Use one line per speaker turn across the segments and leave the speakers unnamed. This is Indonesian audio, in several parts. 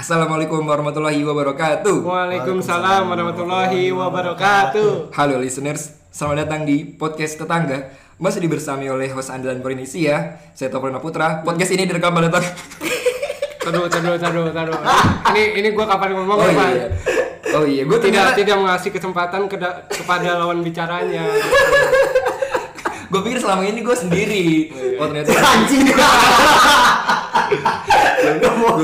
Assalamualaikum warahmatullahi wabarakatuh.
Waalaikumsalam warahmatullahi wabarakatuh.
Halo listeners, selamat datang di podcast tetangga. Masih dibersami oleh host andalan Polinisia, Iya, saya Toprona Putra. Podcast ini direkam pada tanggal
Taduh, taduh, taduh, taduh. Ini ini gua kapan ngomong
Oh
kapan?
iya. Oh iya, gue
Tidak
tidak
tidak mengasih kesempatan keda- kepada lawan bicaranya.
gue pikir selama ini gue sendiri. Oh ternyata
anjing
gue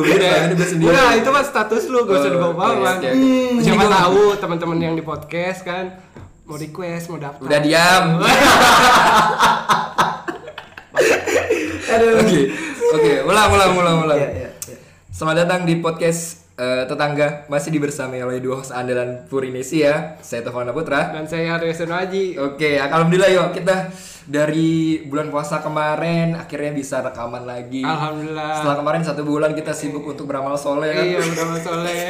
pikir selama ini gue sendiri.
Udah, itu kan status lu, gak usah
Oh,
dibawa-bawa.
oke,
Bang.
oke, oke.
Hmm,
Jadi
Siapa
gua-
tahu teman-teman yang di podcast kan mau request, mau daftar.
Udah diam.
aduh
Oke. Oke, ulang ulang ulang ulang.
Iya, iya, iya.
Selamat datang di podcast eh, tetangga masih dibersami oleh dua host andalan Purinesia, ya. saya Tovana Putra.
Dan saya Harrison Haji.
Oke, alhamdulillah yuk kita dari bulan puasa kemarin akhirnya bisa rekaman lagi.
Alhamdulillah.
Setelah kemarin satu bulan kita sibuk untuk beramal soleh kan.
Iya, udah masuk oleh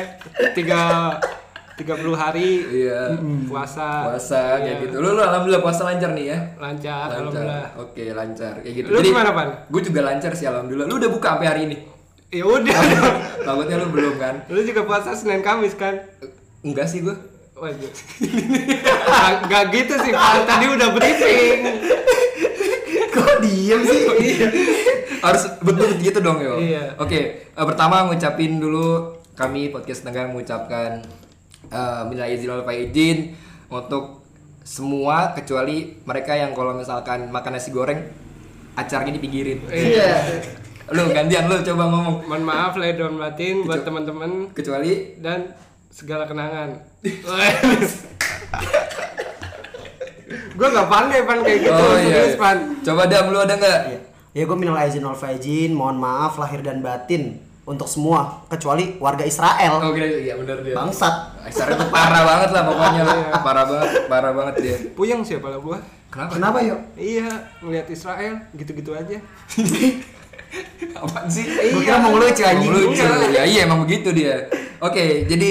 tiga tiga puluh hari Hmm,
Iya.
puasa.
Puasa kayak
Iya.
gitu. Lu, lu alhamdulillah puasa lancar nih ya.
Lancar, alhamdulillah.
Oke, lancar kayak gitu.
Lu gimana, Pan?
Gue juga lancar sih alhamdulillah. Lu udah buka sampai hari ini.
Ya udah.
Takutnya lu belum kan?
Lu juga puasa Senin Kamis kan?
Enggak sih gue.
Waduh. Nggak nggak gitu sih, Pak. Tadi udah briefing.
kok diem sih
harus betul gitu dong yo.
Iya.
Oke, eh, pertama ngucapin dulu kami podcast tengah mengucapkan eh minal izin wal faizin untuk semua kecuali mereka yang kalau misalkan makan nasi goreng acaranya dipinggirin.
iya
Lu gantian lu coba ngomong
Mohon maaf lahir dan batin buat teman-teman
kecuali
dan segala kenangan. gue gak pandai pan kayak
Oh,
gitu
Oh, iya.
serius, pan
iya, Coba dam lu ada nggak?
ya gue minal aizin wal faizin mohon maaf lahir dan batin untuk semua kecuali warga Israel
Oke, iya benar dia.
bangsat
Acaranya tuh parah banget lah pokoknya
Iya.
lu. Parah banget, parah banget dia.
puyeng sih kalau gue
Kenapa?
kenapa yuk
iya ngeliat Israel gitu-gitu aja
Apaan sih? Iya.
Gua kira mau ngelucu, anjing.
Mau ngelucu.
Enggak.
Ya iya emang begitu dia. Oke, jadi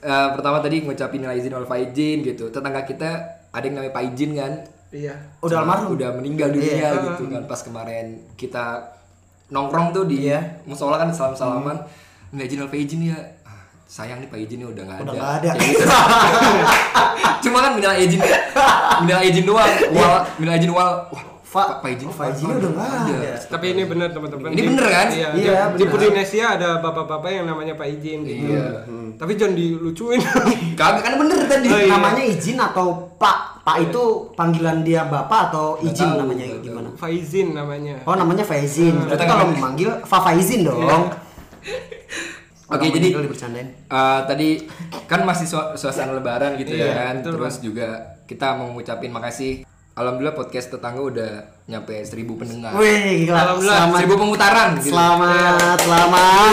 eh, pertama tadi ngucapin nilai izin wal faizin gitu. Tetangga kita ada yang namanya Faizin kan.
iya
udah
Sama-
almarhum
Udah meninggal dunia
Iya.
gitu kan pas kemarin kita nongkrong tuh di
Iya.
musola kan salam-salaman. Nilai izin wal faizin ya. Ah, Sayang nih Pak Ijin ya udah nggak ada.
Hmm. Udah nggak ada.
Kayak gitu. Cuma kan minal izin, minal izin doang. Wal, minal izin wal. Wah,
Fa- oh,
Pak Iya. Ijin,
Pak Ijin udah nggak ada.
tapi ini benar
Ini
teman-teman Di-
bener, kan?
iya,
Iya,
di- di
bener.
Indonesia ada bapak-bapak yang namanya Pak Ijin gitu.
Iya.
tapi jangan dilucuin
Kagak kan bener tadi.
Oh, iya.
namanya izin atau pak pak itu panggilan dia bapak atau izin
tahu,
namanya
Iya. nggak
gimana
Faizin namanya
oh namanya Faizin berarti kalau memanggil Fa Faizin dong
Oke,
Orang
Iya. jadi
meninggal dibercandain
Eh, tadi kan masih sua- suasana lebaran gitu
Iya,
ya kan.
betul,
Terus juga kita mau ngucapin makasih. Alhamdulillah podcast tetangga udah nyampe seribu pendengar.
Wih, gila.
Alhamdulillah,
Selamat
seribu pemutaran. gitu.
Selamat, selamat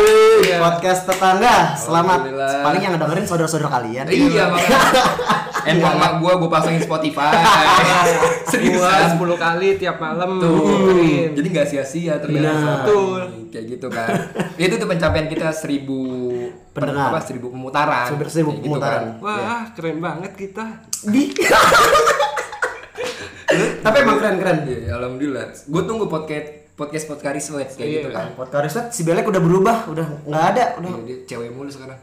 podcast tetangga. Selamat.
Iya. Alhamdulillah.
Paling yang dengerin saudara-saudara kalian.
Iya makanya. Handphone mak gua gua pasangin Spotify.
Gua
Seriusan.
10 kali tiap malam
Tuh. kan.
dengerin.
Jadi nggak sia-sia ternyata.
Benar.
selama
Betul.
ini. Kayak gitu kan. itu tuh pencapaian kita seribu pen-
Pendengar.
apa, seribu pemutaran.
Seribu- seribu
Kayak
pemutaran.
Gitu
Wah, keren banget kita.
Di- Tapi emang keren-keren.
kan. Iya, alhamdulillah. Gue tunggu podcast podcast podcast kayak
Iya.
gitu kan.
Podcast Red, si Belek udah berubah, udah nggak ada, udah.
Iya, dia cewek mulu sekarang.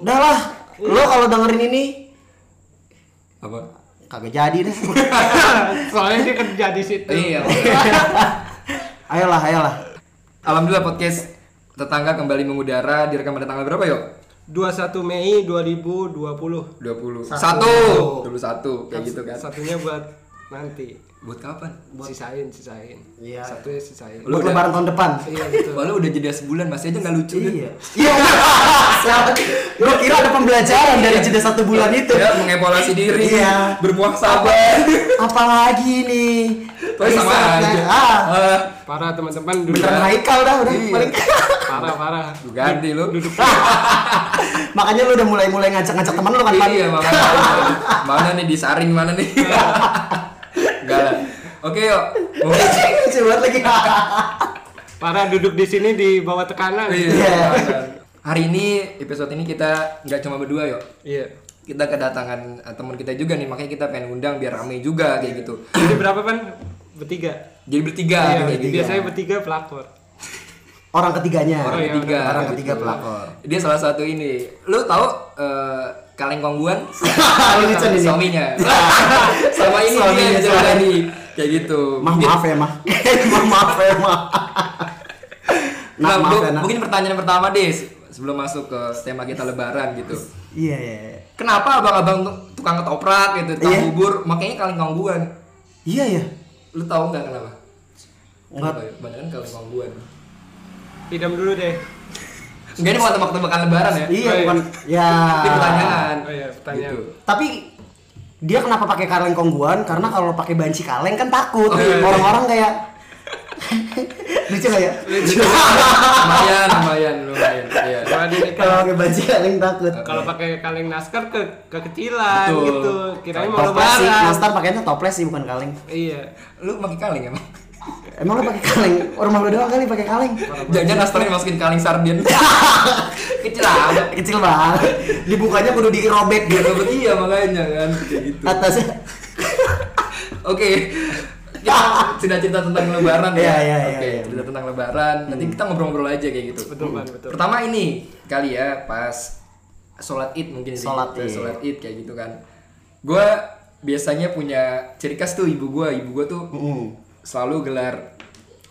Udah lah. Lo kalau dengerin ini
Apa?
kagak jadi deh.
Soalnya dia kerja di situ.
Iya.
ayolah, ayolah.
Alhamdulillah podcast tetangga kembali mengudara direkam pada tanggal berapa yuk?
21 Mei 2020.
20
Satu.
satu 21 kayak gitu kan
Satunya buat nanti.
buat kapan
Sisain, sisain.
Iya.
Satunya sisain.
Lu
Buat
udah-
lebaran tahun depan.
Iya betul.
Walau udah jeda sebulan masih aja nggak lucu kan?
Iya. Iya. Gue kira ada pembelajaran dari jeda satu bulan itu.
ya mengevaluasi diri
Iya.
berpuasabah
Apalagi nih.
tapi sama
Risetnya-
aja
Ah,
Eh,
Parah teman-teman duduk.
beneran Haikal dah udah
Iya.
paling.
Parah parah.
lu ganti lu
Makanya lu udah mulai-mulai ngajak-ngajak teman lu kan Pan?
iya makanya mana nih disaring mana nih enggak lah oke yuk Mungkin-
Lucu banget lagi.
Parah duduk di sini di bawah tekanan.
Iya. hari ini episode ini kita nggak cuma berdua yuk
Iya.
kita kedatangan eh, teman kita juga nih makanya kita pengen undang biar rame juga kayak gitu
Jadi berapa kan? Bertiga.
jadi bertiga
Iya,
kayak gitu.
biasanya bertiga pelakor.
Orang ketiganya.
orang
iya,
ketiga
benar.
Orang ketiga
gitu.
pelakor.
dia salah satu ini lu tahu eh, kaleng kongguan
Ini Chan, ini.
suaminya sama ini
Suaminya,
dia
suaminya.
jadi kayak gitu
Mah maaf ya mah. Mah maaf ya mah. Nah,
Nah,
maaf
bu-
ya nah.
mungkin pertanyaan pertama deh se- sebelum masuk ke tema kita lebaran gitu.
Iya iya. iya.
Kenapa abang-abang tukang ketoprak gitu, tukang
Iya.
bubur makanya kaleng kongguan?
Iya ya.
Lu tahu nggak kenapa?
Nggak.
Kenapa ya? Banyak kan kaleng kongguan.
Idam dulu deh.
Enggak ini bukan tebak-tebakan lebaran ya.
Iya
Oh, iya.
bukan ya.
Ini pertanyaan.
Oh iya, pertanyaan.
Gitu.
Tapi dia kenapa pakai kaleng kongguan? Karena kalau pakai banci kaleng kan takut.
Oh, iya, iya.
Orang-orang kayak lucu nggak ya?
lumayan, lumayan, lumayan. Iya.
Waduh, nih,
Kalau pakai banci kaleng takut.
Kalau pakai kaleng naskar ke kekecilan
Betul.
gitu. Kirain mau
Toples sih,
lebaran.
nastar pakainya toples sih bukan kaleng.
Iya.
Lu pakai kaleng emang?
Emang lu pakai kaleng? Rumah lu doang kali pakai kaleng.
Jangan nastarnya masukin kaleng sarden. Kecil amat.
Kecil banget. Dibukanya kudu dirobek
Biar
gitu.
dapet iya makanya kan kayak gitu.
Atasnya
Oke. Kita sudah cerita tentang lebaran ya.
Iya, iya, iya,
Oke,
iya.
cerita tentang lebaran. Nanti kita ngobrol-ngobrol aja kayak gitu.
Betul kan, betul.
Pertama ini kali ya pas sholat id mungkin sih.
Sholat
Kita
Id.
sholat id kayak gitu kan. Gue biasanya punya ciri khas tuh ibu gue, ibu gue tuh
Mm.
selalu gelar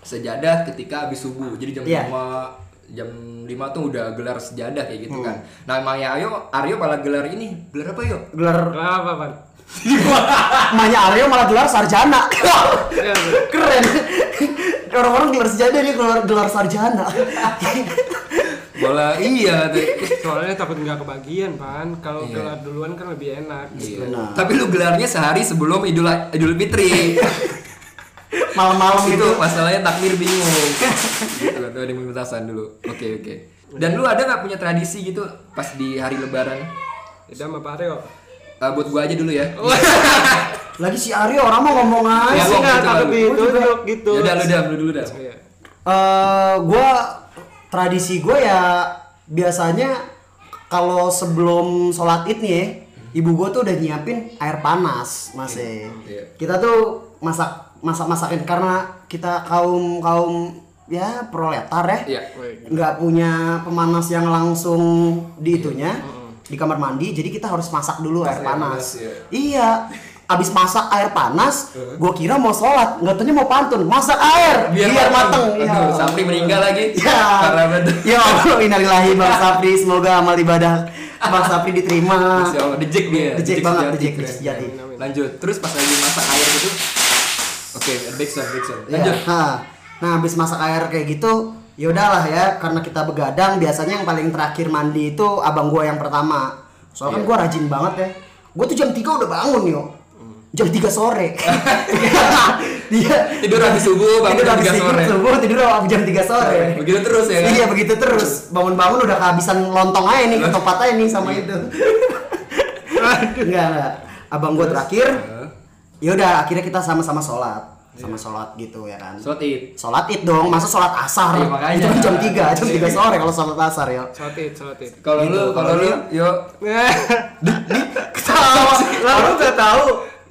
sejadah ketika habis subuh. Jadi jam
Iya.
5 jam 5 tuh udah gelar sejadah kayak
Mm.
gitu kan. Nah, Maya Ayo, Aryo malah gelar ini. Gelar apa, Yo?
gelar
Kenapa, Pan?
emaknya Aryo malah gelar sarjana
Iya, Bu.
keren orang-orang gelar sejadah dia gelar gelar sarjana
Bola iya tuh.
Soalnya takut nggak kebagian, Pan. Kalau gelar duluan kan lebih enak.
Iya.
Benar.
Tapi lu gelarnya sehari sebelum Idul Idul Fitri. Oh,
malam-malam
itu
gitu
masalahnya takmir bingung. gitu kan, tuh ada yang pementasan dulu. Oke oke. Dan lu ada nggak punya tradisi gitu pas di hari Lebaran?
Idam sama Pareo.
Eh, buat gua aja dulu ya.
lagi si Aryo orang mau ngomong
Ya,
aja
Ya,
sih
gua
nggak
gitu
takut
lalu.
ditunjuk gitu.
Ya udah lu dah, lu dulu dah.
Iya.
Eh, gue tradisi gue ya biasanya kalau sebelum sholat id nih ya, ibu gue tuh udah nyiapin air panas masih.
Iya.
Kita tuh masak masak masakin karena kita kaum kaum ya proletar ya.
Iya.
gitu.
nggak punya pemanas yang langsung di itunya di kamar mandi jadi kita harus masak dulu air
air
panas
panas, ya.
iya abis masak air panas gue kira mau sholat nggak taunya mau pantun masak air biar, mateng iya.
Aduh, Sapri meninggal lagi.
ya
Karena betul.
ya Allah innalillahi bang Sapri semoga amal ibadah bang Sapri diterima
Masya Allah, dejek dia.
Dejek banget,
sejati,
dejek,
keren.
sejati.
Lanjut. Terus pas lagi masak air gitu. Oke, back sound, back sound.
Ya,
Lanjut.
ha. Nah, habis masak air kayak gitu, ya udahlah ya, karena kita begadang biasanya yang paling terakhir mandi itu abang gua yang pertama.
Iya.
Soalnya kan gua rajin banget ya. Gua tuh jam 3 udah bangun yo.
Hmm.
Jam 3 sore. Dia
Tidur habis subuh, bangun
tidur
jam 3
habis tidur
sore.
subuh, tidur jam 3 sore.
Begitu terus ya kan?
Iya, begitu terus. Bangun-bangun udah kehabisan lontong aja nih, ketupat aja nih sama
Iya.
itu. Enggak, enggak. Abang gua terakhir. Ya udah, akhirnya kita sama-sama sholat sama sholat gitu ya kan
Iya. Sholat id.
Sholat id dong, masa sholat asar?
Iya, makanya.
Itu kan jam 3, jam 3 sore kalau sholat asar ya.
Sotit, sotit.
Kalau
Gitu.
lu, kalau lu, yuk.
Eh,
Ketawa. Eh,
Lalu udah tahu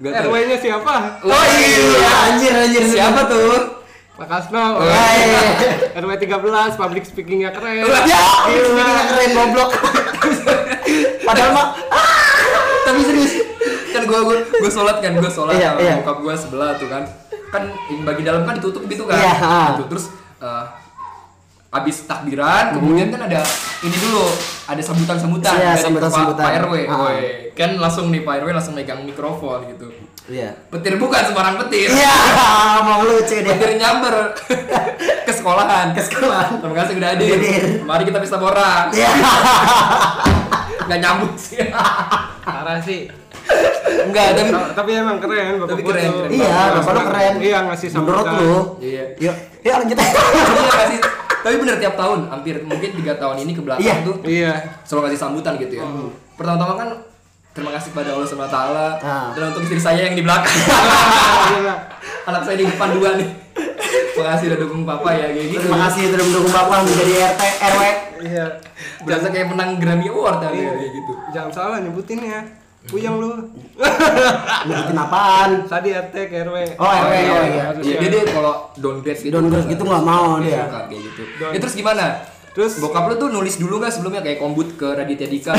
Nggak tahu.
RW-nya siapa?
Oh iya, anjir anjir.
Siapa tuh?
Pak
Oh.
Kasno.
Eh.
RW 13 public speakingnya keren.
Ya, ini nggak keren goblok. Padahal mah
Tapi serius, kan gua gua, gua sholat kan, gua sholat
Iya,
sama
iya.
bokap gua sebelah tuh kan. Kan yang bagi dalam kan ditutup gitu kan.
Iya, ha.
Gitu. Terus eh, abis takbiran kemudian kan ada ini dulu ada sambutan sambutan
Hmm. Iya,
dari Pak,
sambutan-sambutan.
Pak RW
Ah.
Woi, kan langsung nih Pak RW langsung megang mikrofon gitu
Iya.
petir bukan sembarang petir
Iya, mau lucu deh.
petir nyamber ke sekolahan
Ke sekolah.
terima kasih udah hadir
Hadir.
mari kita pesta borak
Iya.
nggak nyambung sih
Parah sih.
nggak ada
Ta- tapi emang keren bapak
Tapi
gua
keren,
tuh.
keren.
Iya,
Ngasih-
bapak lu keren.
Iya ngasih
Menurut
sambutan.
lu.
Iya.
Yuk, yuk lanjut aja.
Iya nggak sih? tapi bener tiap tahun hampir mungkin tiga tahun ini ke belakang
Iya. Hmm.
tuh
Iya.
selalu ngasih sambutan gitu ya. Pertama-tama kan terima kasih pada Allah Subhanahu wa taala
Ah.
dan untuk istri saya yang di belakang.
Gila.
Anak saya di depan dua nih. Makasih udah dukung papa ya kayak gitu.
Terima kasih sudah mendukung Bapak menjadi RT RW.
Iya.
Berasa kayak menang Grammy Award tadi
Iya.
kayak gitu.
Jangan salah nyebutin ya. Puyeng lu.
Nyebutin apaan?
Tadi RT ke RW.
Oh, RW.
iya, iya.
Oh, iya.
Iya, dia dia kalau downgrade gitu.
Downgrade gitu nggak mau
Iya,
dia.
suka kayak gitu.
Down-
Ya, terus gimana?
Terus
Bokap lu tuh nulis dulu nggak sebelumnya kayak kombut ke Raditya Dika,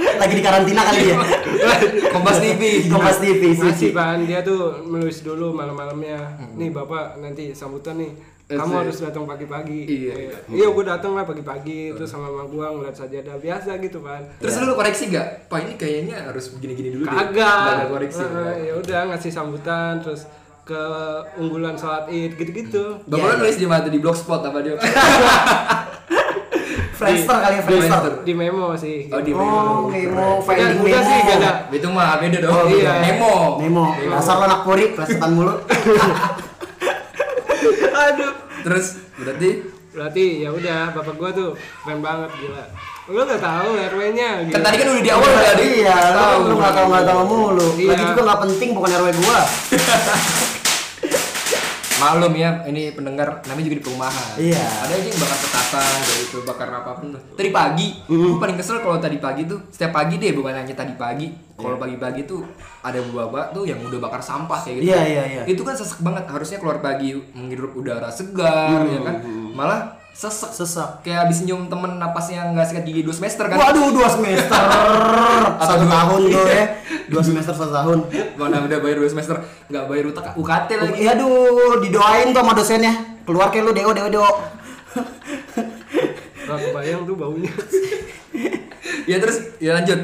Lagi di karantina kali dia.
Kompas TV.
Kompas TV
iya
masih
sih.
kan dia tuh menulis dulu malam-malamnya.
Hmm.
Nih bapak nanti sambutan nih. Kamu
Asik.
harus datang pagi-pagi.
Iya.
Iya, gue datang lah pagi-pagi terus sama mama gua ngeliat sajadah biasa gitu kan.
Terus lu koreksi gak? Pak ini kayaknya harus begini-gini dulu deh. Iya. Nggak ada
kagak
koreksi.
Heeh, ya udah ngasih sambutan terus ke unggulan salat id gitu-gitu Iya.
Bapak lu nulis di mana tuh? Di blogspot apa dia?
Friendster kali ya, Friendster.
di memo sih
Oh di memo.
Oh, memo,
udah,
finding
udah sih gak ada
memo.
Itu mah beda dong.
Oh,
iya.
iya.
Memo.
Memo, dasar lo anak puri, kelasetan mulu.
aduh
Terus berarti
berarti ya udah bapak gua tuh keren banget gila lu gak tahu rw nya gitu
kan tadi kan udah di awal udah di.
Iya,
tahu.
lu, lu nggak tahu nggak tahu mulu.
Iya.
Lagi juga nggak penting bukan RW gua.
Malum ya, ini pendengar namanya juga di perumahan.
Iya.
Ada aja yang bakar petasan kayak gitu, bakar apapun. tuh. Tadi pagi, gua paling kesel kalau tadi pagi tuh, setiap pagi deh bukan hanya tadi pagi. Kalau
Iya.
pagi-pagi tuh ada bapak tuh yang udah bakar sampah kayak gitu.
Iya iya iya.
Itu kan sesek banget, harusnya keluar pagi menghirup udara segar ya kan.
Hmm,
Malah sesek
Sesak.
kayak habis nyium temen napasnya nggak sikat gigi 2 semester kan Iya.
Waduh, dua semester satu tahun tuh ya. Dua semester satu tahun.
mana udah bayar 2 semester nggak bayar utak UKT Iya, lagi
Iya duh, didoain tuh sama dosennya. Keluar kayak lu deo deo deo.
gak kebayang tuh baunya
ya terus ya lanjut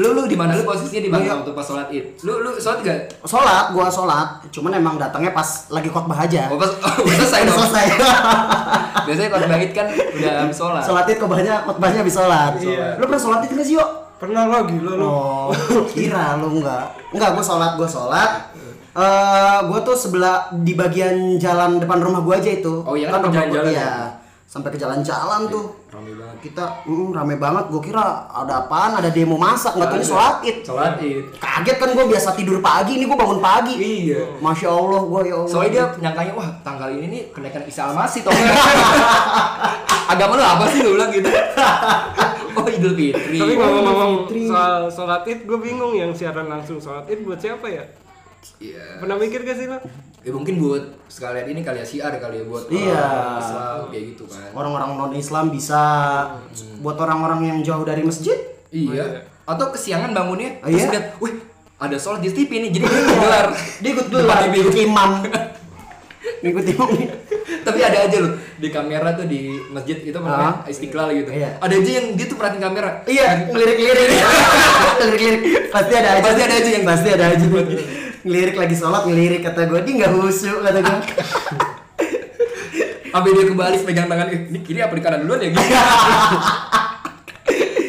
lu lu di mana lu posisinya di
Iya.
mana waktu pas sholat id lu lu sholat gak
Sholat, gua sholat. Cuman emang datangnya pas lagi khotbah aja.
oh, pas oh, udah selesai
Udah
dong
selesai.
biasanya kalau bangkit kan udah habis sholat
sholat itu khotbahnya khotbahnya habis sholat.
Iya.
Lu pernah sholat itu nggak sih yuk?
pernah lo gila lo
Oh, kira lu enggak. Enggak, gue sholat, gue sholat. Eh, gue tuh sebelah di bagian jalan depan rumah gue aja itu.
Oh, iya kan,
rumah
jalan-jalan
gua-
ya? Iya,
iya. Sampai ke jalan-jalan tuh.
rame banget
Kita mm, rame banget, gue kira ada apaan, ada demo masak, nggak tahu sholat id.
sholat iya. id
Kaget kan gue biasa tidur pagi, ini gue bangun pagi.
Iya.
Masya Allah, gue ya Allah.
soalnya dia nyangkanya wah tanggal ini nih kenaikan Isa Al-Masih tau nggak? agama lu apa sih lu bilang gitu oh Idul Fitri
tapi ngomong-ngomong
Fitri.
soal sholat id gue bingung yang siaran langsung sholat id buat siapa ya
Iya.
pernah mikir gak sih lo
ya mungkin buat sekalian ini kali ya siar kali ya buat orang
Iya.
Islam kayak gitu kan
Orang-orang non-Islam bisa
Hmm.
buat orang-orang yang jauh dari masjid.
iya
iya.
atau kesiangan bangunnya
Oh,
terus
iya?
lihat wih ada sholat di TV nih jadi dia ikut gelar
Dia ikut gelar,
Depan
ikut
TV.
imam. Ikut imam.
tapi ada aja loh di kamera tuh di masjid itu apa namanya istiqlal gitu
Iya.
ada aja yang dia tuh perhatiin kamera
Iya, ngelirik-lirik. ngelirik-lirik. Pasti ada aja.
Pasti ada aja yang-
pasti ada aja. ngelirik lagi sholat ngelirik kata gue dia nggak khusyuk kata gue.
sampai dia kebalik pegang tangan "Ih, ini kiri apa di kanan duluan ya gitu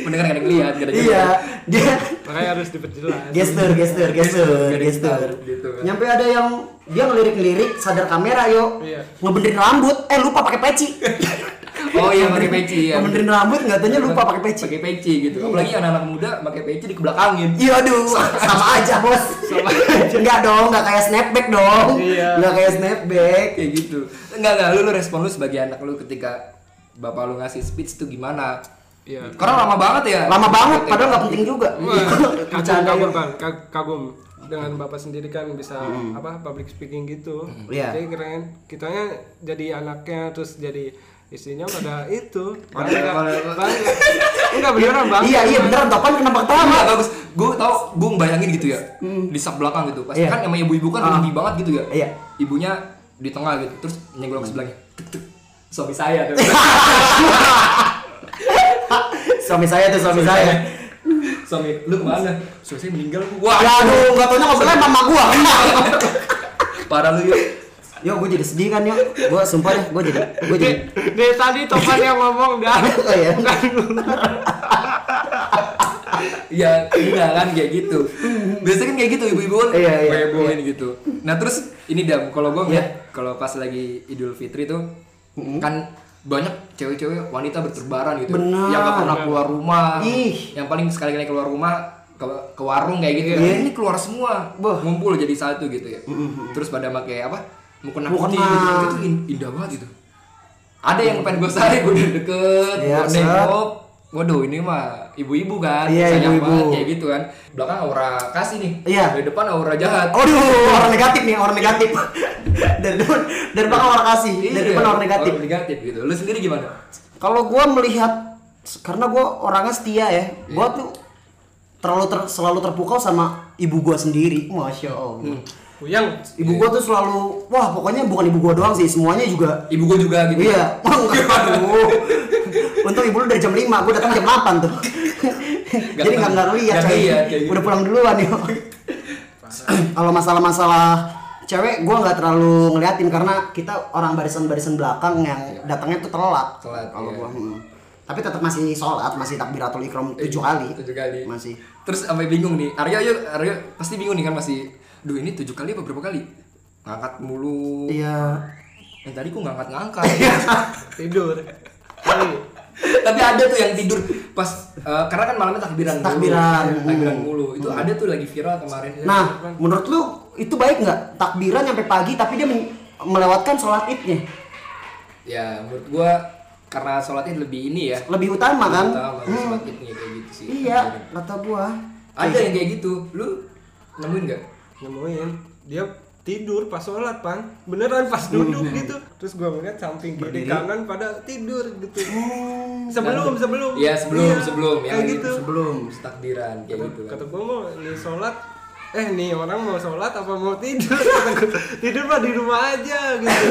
mendengar kadang lihat kadang
iya, dia
makanya harus diperjelas
gestur, gestur, gestur, gestur.
Gitu kan.
Nyampe ada yang dia ngelirik-ngelirik sadar kamera yo.
Iya.
Ngebenerin rambut, eh lupa pakai peci.
oh iya pakai peci ya
Ngebenerin rambut nggak tanya lupa pakai peci.
pakai peci gitu apalagi anak-anak muda pakai peci di kebelakangin
Iya aduh, sama aja bos. Enggak dong, enggak kayak snapback dong.
Iya.
Enggak kayak snapback.
kayak gitu enggak enggak lu, lu respon lu sebagai anak lu ketika bapak lu ngasih speech tuh gimana
Iya.
karena lama banget ya
Lama banget, padahal nggak penting juga.
kagum
Iya. Bercanda ya.
kagum
yuk.
Bang. Kag- kagum dengan bapak sendiri kan bisa apa public speaking gitu
Iya.
jadi keren kitanya jadi anaknya terus jadi istrinya pada itu
Pada-
bangga
pada-
bangga enggak beneran bang
Iya iya beneran topan kenapa ketawa?
Enggak bagus. Gue tau, gue bayangin gitu ya. Di sap belakang gitu. Pasti
Hmm. Iya.
kan sama ibu-ibu kan
Ah.
tinggi banget gitu ya.
Iya. Hmm.
Ibunya di tengah gitu. Terus nyenggol ke sebelahnya. Tek tek suami saya tuh
suami saya tuh suami saya
suami lu kemana suami saya meninggal Bu. wah
ya aduh nggak taunya ngebelnya mama gua
parah lu ya
yo gue jadi sedih kan yo gue sumpah deh gue jadi gue jadi
Dari, dari tadi Topan yang ngomong dah.
oh ya
ya enggak kan kayak gitu biasanya kan kayak gitu ibu-ibu kan
Iya, iya.
hebohin gitu nah terus ini dam kalau gue ngeliat kalau pas lagi Idul Fitri tuh kan banyak cewek-cewek wanita berterbaran gitu
Benar.
yang gak pernah keluar rumah
Ih.
yang paling sekali kali keluar rumah ke, ke warung kayak gitu
Iya.
ini keluar semua
Wah.
ngumpul jadi satu gitu ya terus pada pakai apa mukena
Mukena.
putih gitu, itu in- indah banget gitu ada yang pengen gue sari gue udah deket
Iya,
gue
set.
nengok waduh ini mah ibu-ibu kan
Iya,
sayang
ibu-ibu.
banget kayak gitu kan belakang aura kasih nih
Iya. Oh,
dari depan aura jahat
Aduh, orang negatif nih, orang negatif. dari depan, dari belakang orang kasih, dari depan orang negatif.
orang Iya. negatif gitu lu sendiri gimana
Kalau gua melihat, karena gua orangnya setia ya, gua tuh terlalu ter- selalu terpukau sama ibu gua sendiri. Hmm. Masya Allah.
Puyang.
Ibu gua tuh selalu, wah pokoknya bukan ibu gua doang sih, semuanya juga.
ibu gue juga gitu
Iya, wah enggak. Aduh. Untung ibu lu dari jam 5, gua datang jam 8 tuh. Jadi nggak nggak ngeliat,
Nggak
coy.
ngeliat, kayak gitu.
Udah pulang duluan yo. Kalau masalah-masalah cewek gua nggak terlalu ngeliatin karena kita orang barisan-barisan belakang yang datangnya tuh telat.
Iya. Telat,
Kalau
iya.
gua hmm. tapi tetap masih sholat, masih takbiratul ikram tujuh kali.
Eh, tujuh kali
Masih.
terus sampai bingung nih Arya yuk Arya pasti bingung nih kan masih duh ini tujuh kali apa berapa kali ngangkat mulu
Iya.
yang tadi kok ngangkat-ngangkat
Tidur. Kali.
tapi ada tuh yang tidur pas eh, karena kan malamnya takbiran mulu.
Takbiran. Hmm.
takbiran mulu itu ada tuh lagi viral kemarin
Iya,
Nah, menurut lu itu baik nggak takbiran sampai pagi tapi dia men- melewatkan sholat idnya
ya menurut gua karena sholatnya lebih ini ya
lebih utama kan?
utama sholat idnya kayak gitu sih
Iya, kata gua.
ada yang kayak gitu lu nemuin gak
Nemuin. Dia tidur pas sholat pang beneran pas duduk
Iya.
gitu terus gua ngeliat samping kiri kanan pada tidur gitu sebelum sebelum
ya Hmm, sebelum
Iya,
sebelum ya
kayak gitu
sebelum takbiran kayak gitu kan.
kata gua mau nih sholat eh nih orang mau sholat apa mau tidur Kata gua, tidur mah di rumah aja gitu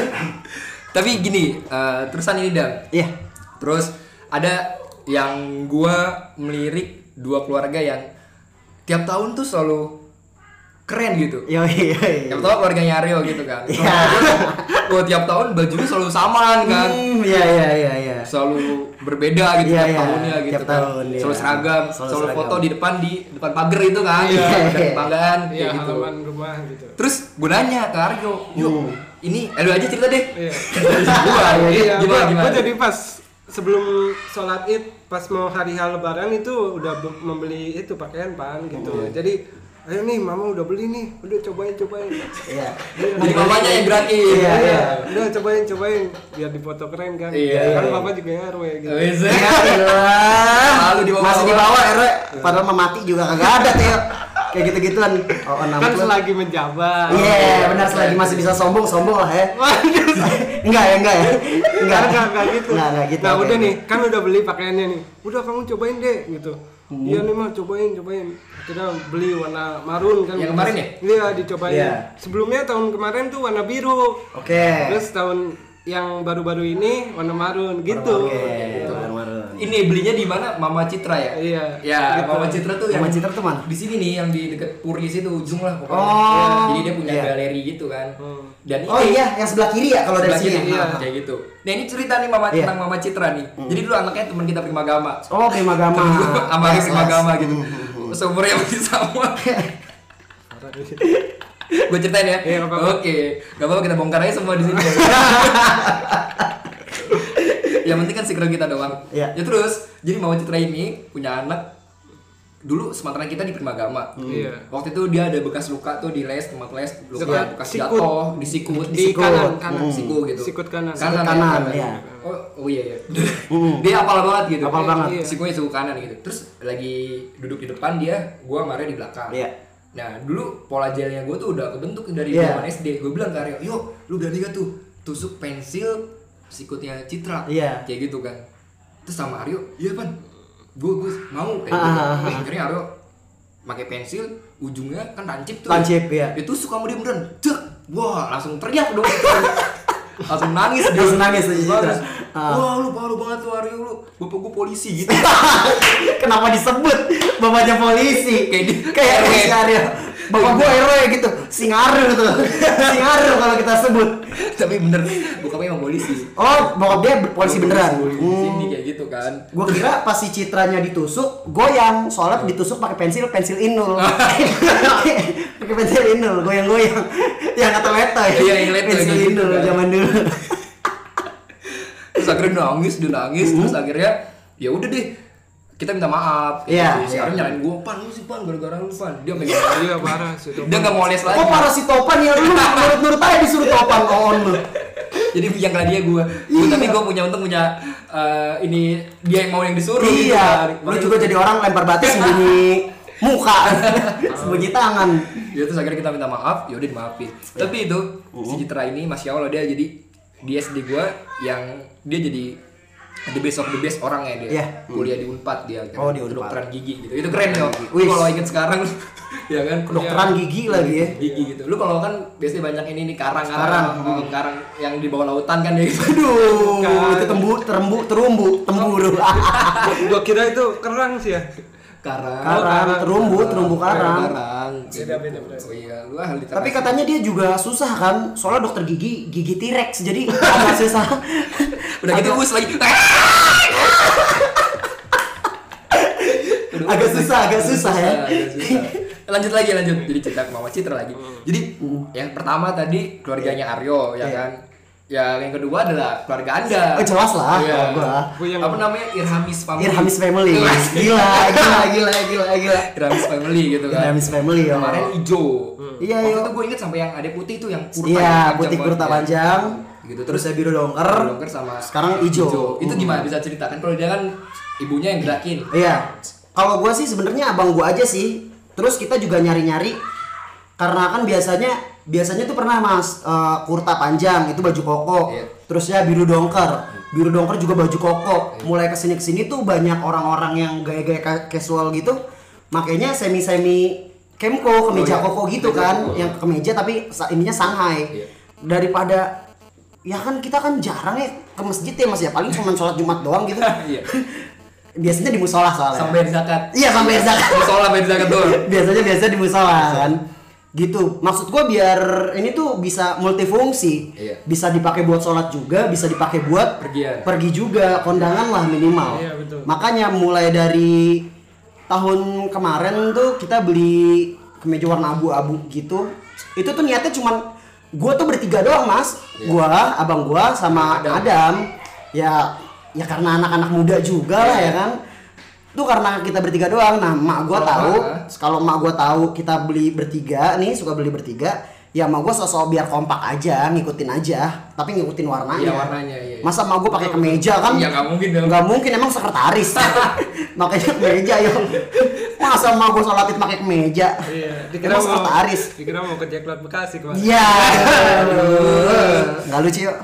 tapi gini eh, terusan ini dam
Iya.
Terus ada yang gua melirik dua keluarga yang tiap tahun tuh selalu keren gitu.
Yo iya.
Tiap tahun keluarganya Aryo gitu kan.
Iya.
Kalau gua tiap tahun bajunya selalu samaan kan.
Hmm, iya iya iya iya.
Selalu berbeda gitu
Iya,
tiap
iya.
tahunnya gitu
Tiap
kan.
tahun, iya.
Selalu seragam,
Selalu
selalu,
seragam.
foto di depan di depan pagar itu kan.
Iya.
Depan pagar
iya
kayak gitu.
halaman rumah gitu
Terus gue nanya ke Aryo, "Yuk, ini eh, lu aja cerita deh." gua,
iya iya,
gimana,
gua,
gimana?
gua jadi pas sebelum sholat id pas mau hari hal lebaran itu udah be- membeli itu pakaian pan gitu
Oh, iya.
jadi ayo nih mama udah beli nih udah cobain cobain
Iya.
Jadi mamanya yang berani.
Iya, iya.
udah cobain cobain biar dipoto keren kan
Iya.
karena papa juga RW gitu
Wes.
Ya Allah.
Selalu di bawah.
Masih di bawah RW. Padahal mau mati juga kagak ada Teo. Kayak gitu-gituan. Oh, enam
kan
puluh.
selagi menjabat
Iya, benar selagi masih bisa sombong, sombong lah ya. enggak ya, enggak ya.
Enggak, enggak, enggak gitu.
Enggak, enggak gitu.
Nah,
oke,
udah
oke.
nih, kan udah beli pakaiannya nih. Udah kamu cobain deh gitu.
Hmm.
Iya nih mah cobain, cobain. Kita beli warna marun kan.
Yang kemarin ya?
Iya, dicobain.
Iya.
Sebelumnya tahun kemarin tuh warna biru.
Oke.
Terus tahun yang baru-baru ini warna marun gitu.
Oke, warna-warna.
Ini belinya di mana? Mama Citra ya?
Iya.
Ya,
Gitu.
Mama Citra tuh
Mama
yang
Citra tuh mana?
Di sini nih yang di dekat Puri situ ujung lah pokoknya.
Oh.
Jadi dia punya
Iya.
galeri gitu kan.
Hmm.
Dan ini
Oh iya, yang sebelah kiri ya kalau dari
sebelah
sini.
kiri,
ya?
iya, kayak gitu. Nah, ini cerita nih Mama
Iya.
tentang Mama Citra nih. Jadi dulu anaknya teman kita Primagama.
Oh, Prima Gama. Iya,
Temen gua Sama
Yes,
Prima
yes.
Gama gitu.
Hmm,
Seumurnya masih sama. Gue ceritain ya.
Iya, nggak apa-apa.
Oke. Gak apa-apa kita bongkar aja semua di sini. yang penting kan secret kita doang.
Iya.
Ya terus, jadi Mama Citra ini punya anak dulu sematran kita di Primagama.
Iya.
Waktu itu dia ada bekas luka tuh di les, tempat les, luka
Sekut.
bekas
Sikut.
jatuh, di sikut,
Di
sikut.
kanan, kanan.
siku gitu.
Sikut kanan. Hmm.
Kanan,
Sikut kanan,
kanan.
iya.
Oh, oh iya iya. dia apal banget gitu.
Apal
Dia-
banget.
Iya. Sikunya siku kanan gitu. Terus lagi duduk di depan dia, gua marah di belakang.
Iya.
Nah, dulu pola jailnya gue tuh udah kebentuk dari
Iya.
zaman SD. Gue bilang ke Aryo, "Yuk, lu berani gak tuh tusuk pensil sikutnya Citra?"
Iya.
Kayak gitu kan. Terus sama Aryo, "Iya, Pan. Gue gue mau." Kayak
Ah,
gitu.
ah,
Eh, akhirnya Aryo pakai pensil ujungnya kan lancip tuh.
Lancip, iya.
Itu suka sama dia beneran. Dek! Wah, langsung teriak dong. langsung nangis dia
Langsung nangis tuh, Citra. Ah.
wah lu baru banget lu hari lu bapak gue polisi gitu
Kenapa disebut bapaknya polisi?
Kayak di-
kayak
RW.
Singario. Bapak gua RW gitu, Singario tuh. Singario kalau kita sebut.
tapi bener bokapnya emang polisi
Oh, bokap dia polisi beneran.
di sini kayak gitu kan
Gue kira pas si citranya ditusuk, goyang. Soalnya ditusuk pakai pensil, pensil inul. pakai pensil inul, goyang-goyang. Yang kata letoy.
Iya, yang letoy
Pensil
gitu
inul
kan.
zaman dulu.
terus akhirnya nangis dia nangis
Hmm.
terus akhirnya ya udah deh kita minta maaf
Iya,
si
iya.
Arin nyalain gue pan lu sih pan gara-gara lu pan dia pengen
Iya parah sih.
dia nggak mau les lagi
Kok parah si Topan ya lu nurut-nurut aja disuruh Topan on lu.
jadi yang kena dia gue
Iya.
tapi gue punya untung punya eh, ini dia yang mau yang disuruh gitu kan.
Iya, lu
Makanya-
juga jadi orang lempar batu sembunyi muka, sembunyi tangan.
ya terus akhirnya kita minta maaf ya udah dimaafin tapi itu si Citra ini masya Allah dia jadi di SD gua yang dia jadi the best of the best orang ya dia
Iya.
kuliah di Unpad dia akhirnya.
Oh, di Unpad.
kedokteran gigi gitu itu keren ya
Wih.
kalau inget sekarang ya kan
Kedokteran gigi lagi ya.
gigi gitu lu kalau kan biasanya banyak ini nih karang
Karang.
karang oh, karang yang di bawah lautan kan ya gitu
Aduh,
Bukan.
itu tembu, terumbu, terumbu, temburu.
Gua kira itu kerang sih ya.
karang
karang, terumbu, terumbu karang.
karang
Beda, beda, beda.
oh iya lu ahli
Tapi
literasi.
katanya dia juga susah kan, soalnya dokter gigi gigi T-Rex jadi agak susah.
udah gitu us lagi Aduh,
Agak
us
susah,
lagi.
agak susah ya.
agak susah. lanjut lagi lanjut jadi cerita mama Citra lagi jadi yang pertama tadi keluarganya Aryo ya
Hmm. Iya.
kan ya yang kedua adalah keluarga anda
Oh, jelas lah,
Iya.
kalau gua.
Gua yang-
apa namanya Irhamis family
Irhamis family,
Jelas.
gila, gila, gila, gila, gila.
Irhamis family gitu kan
Irhamis family ya.
kemarin ijo
Iya,
waktu
iya.
itu gue inget sampai yang ada putih itu yang kurta yang
Iya,
panjang
putih
banget
kurta
ya.
panjang.
Gitu,
Gitu terus saya biru dongker.
Dongker sama
Sekarang ijo. Hmm.
itu gimana bisa ceritakan kalau dia kan ibunya yang gerakin
Iya. Kalau gua sih sebenarnya abang gua aja sih. Terus kita juga nyari-nyari karena kan biasanya biasanya tuh pernah mas eh, kurta panjang itu baju koko.
Iya.
Terusnya biru dongker. Biru dongker juga baju koko.
Iya.
Mulai kesini kesini tuh banyak orang-orang yang gaya-gaya ka- casual gitu. Makanya semi-semi kemko
Oh,
kemeja
iya.
koko gitu
Kemeja
kan,
koko.
yang kemeja tapi sa- ininya Shanghai.
Iya.
Daripada ya kan kita kan jarang ya ke masjid ya mas ya paling cuma sholat jumat doang gitu.
Iya.
biasanya di musola soalnya
sampai zakat
iya sampai zakat
musola sampai zakat tuh
biasanya biasa di musola kan gitu maksud gua biar ini tuh bisa multifungsi
Iya.
bisa dipakai buat sholat juga bisa dipakai buat
Pergian.
pergi juga kondangan lah minimal
Iya, betul.
makanya mulai dari tahun kemarin tuh kita beli kemeja warna abu-abu gitu itu tuh niatnya cuman gua tuh bertiga doang mas gua abang gua sama
Iya. Adam.
Adam ya ya karena anak-anak muda juga lah ya kan tuh karena kita bertiga doang nah mak gua
Iya. Kalau eh.
tahu
mak,
kalau mak gua tahu kita beli bertiga nih suka beli bertiga ya mak gua sosok biar kompak aja ngikutin aja tapi ngikutin
Iya,
warnanya
warnanya, iya, iya.
masa mak gua pakai kemeja kan
Iya, nggak mungkin dong.
nggak mungkin emang sekretaris makanya kemeja ya masa mak gua sholat id pakai kemeja
Iya, dikira
emang
mau
sekretaris
dikira mau ke Jackpot Bekasi kemarin.
Iya. Enggak lucu yuk.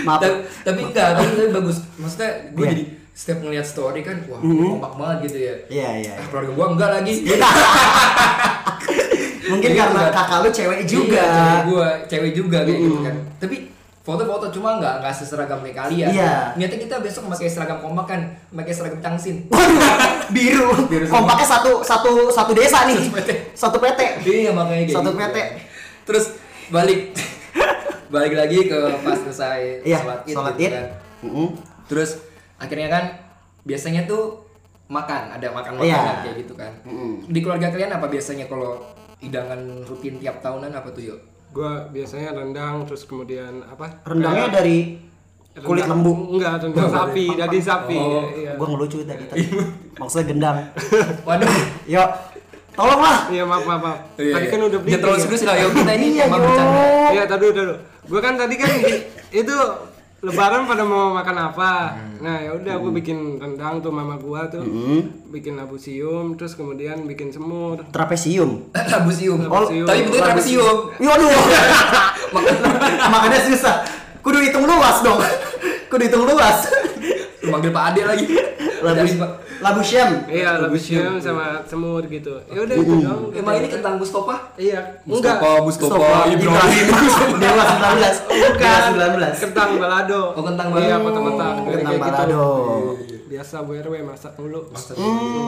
Maaf.
Ta- tapi enggak tapi, tapi bagus maksudnya gue
Iya. Mm-hmm.
jadi setiap ngeliat story kan wah kompak banget gitu ya
Iya, iya.
Ah, keluarga gue enggak lagi
Mungkin
Iya,
karena
enggak.
kakak lu cewek juga. Mm-hmm.
Iya, cewek gue cewek juga kayak gitu kan tapi foto-foto cuma nggak nggak seseragam kayak kalian
Iya.
niatnya kita besok pakai seragam kompak kan pakai seragam cangsin
Waduh, biru.
Biru semua.
Kompaknya satu satu satu desa nih. Satu PT.
Iya makanya kayak
Satu
gitu.
PT.
Terus balik balik lagi ke pas selesai
Iya,
sholat id.
sholat
gitu
id.
kan.
Mm-mm.
Terus akhirnya kan biasanya tuh makan ada makan makanan
Iya.
kayak gitu kan. Di keluarga kalian apa biasanya kalau hidangan rutin tiap tahunan apa tuh yo?
Gua biasanya rendang terus kemudian apa?
Rendangnya
Kayak
dari kulit
rendang-
lembu.
Enggak, rendang sapi, daging sapi.
Oh.
Iya.
Gua ngelucu tadi. tadi. Maksudnya gendang.
Waduh.
Yuk. Tolonglah.
Iya, maaf, maaf, maaf.
Iya,
Tadi
iya.
kan udah beli.
Jangan terlalu serius lah yo kita ini
Iya,
cuma
Yo.
bercanda.
Iya, tadi dulu, dulu. Gua kan tadi kan di- itu lebaran pada mau makan apa. Nah, ya udah gua bikin rendang tuh mama gua tuh. Bikin labusium terus kemudian bikin semur.
Trapesium.
Labusium.
Oh,
tapi bentuknya trapesium.
Yo, aduh. Iya, Makanya susah. Kudu hitung luas dong. Kudu hitung luas.
Lu manggil Pak Ade lagi.
labu labu syam
Iya, lebih sium sama semur gitu. Ya udah itu doang.
Emang ini kentang Mustafa?
Iya, enggak.
Mustafa, Mustafa,
Mustafa,
Ibrahim.
Dewa
Oh,
19
Bukan.
Dewa 19
Kentang balado.
Oh, kentang
Iya,
balado.
kotak-kotak.
Kentang
Kayak gitu.
balado.
Biasa Bu RW masak dulu.
Tapi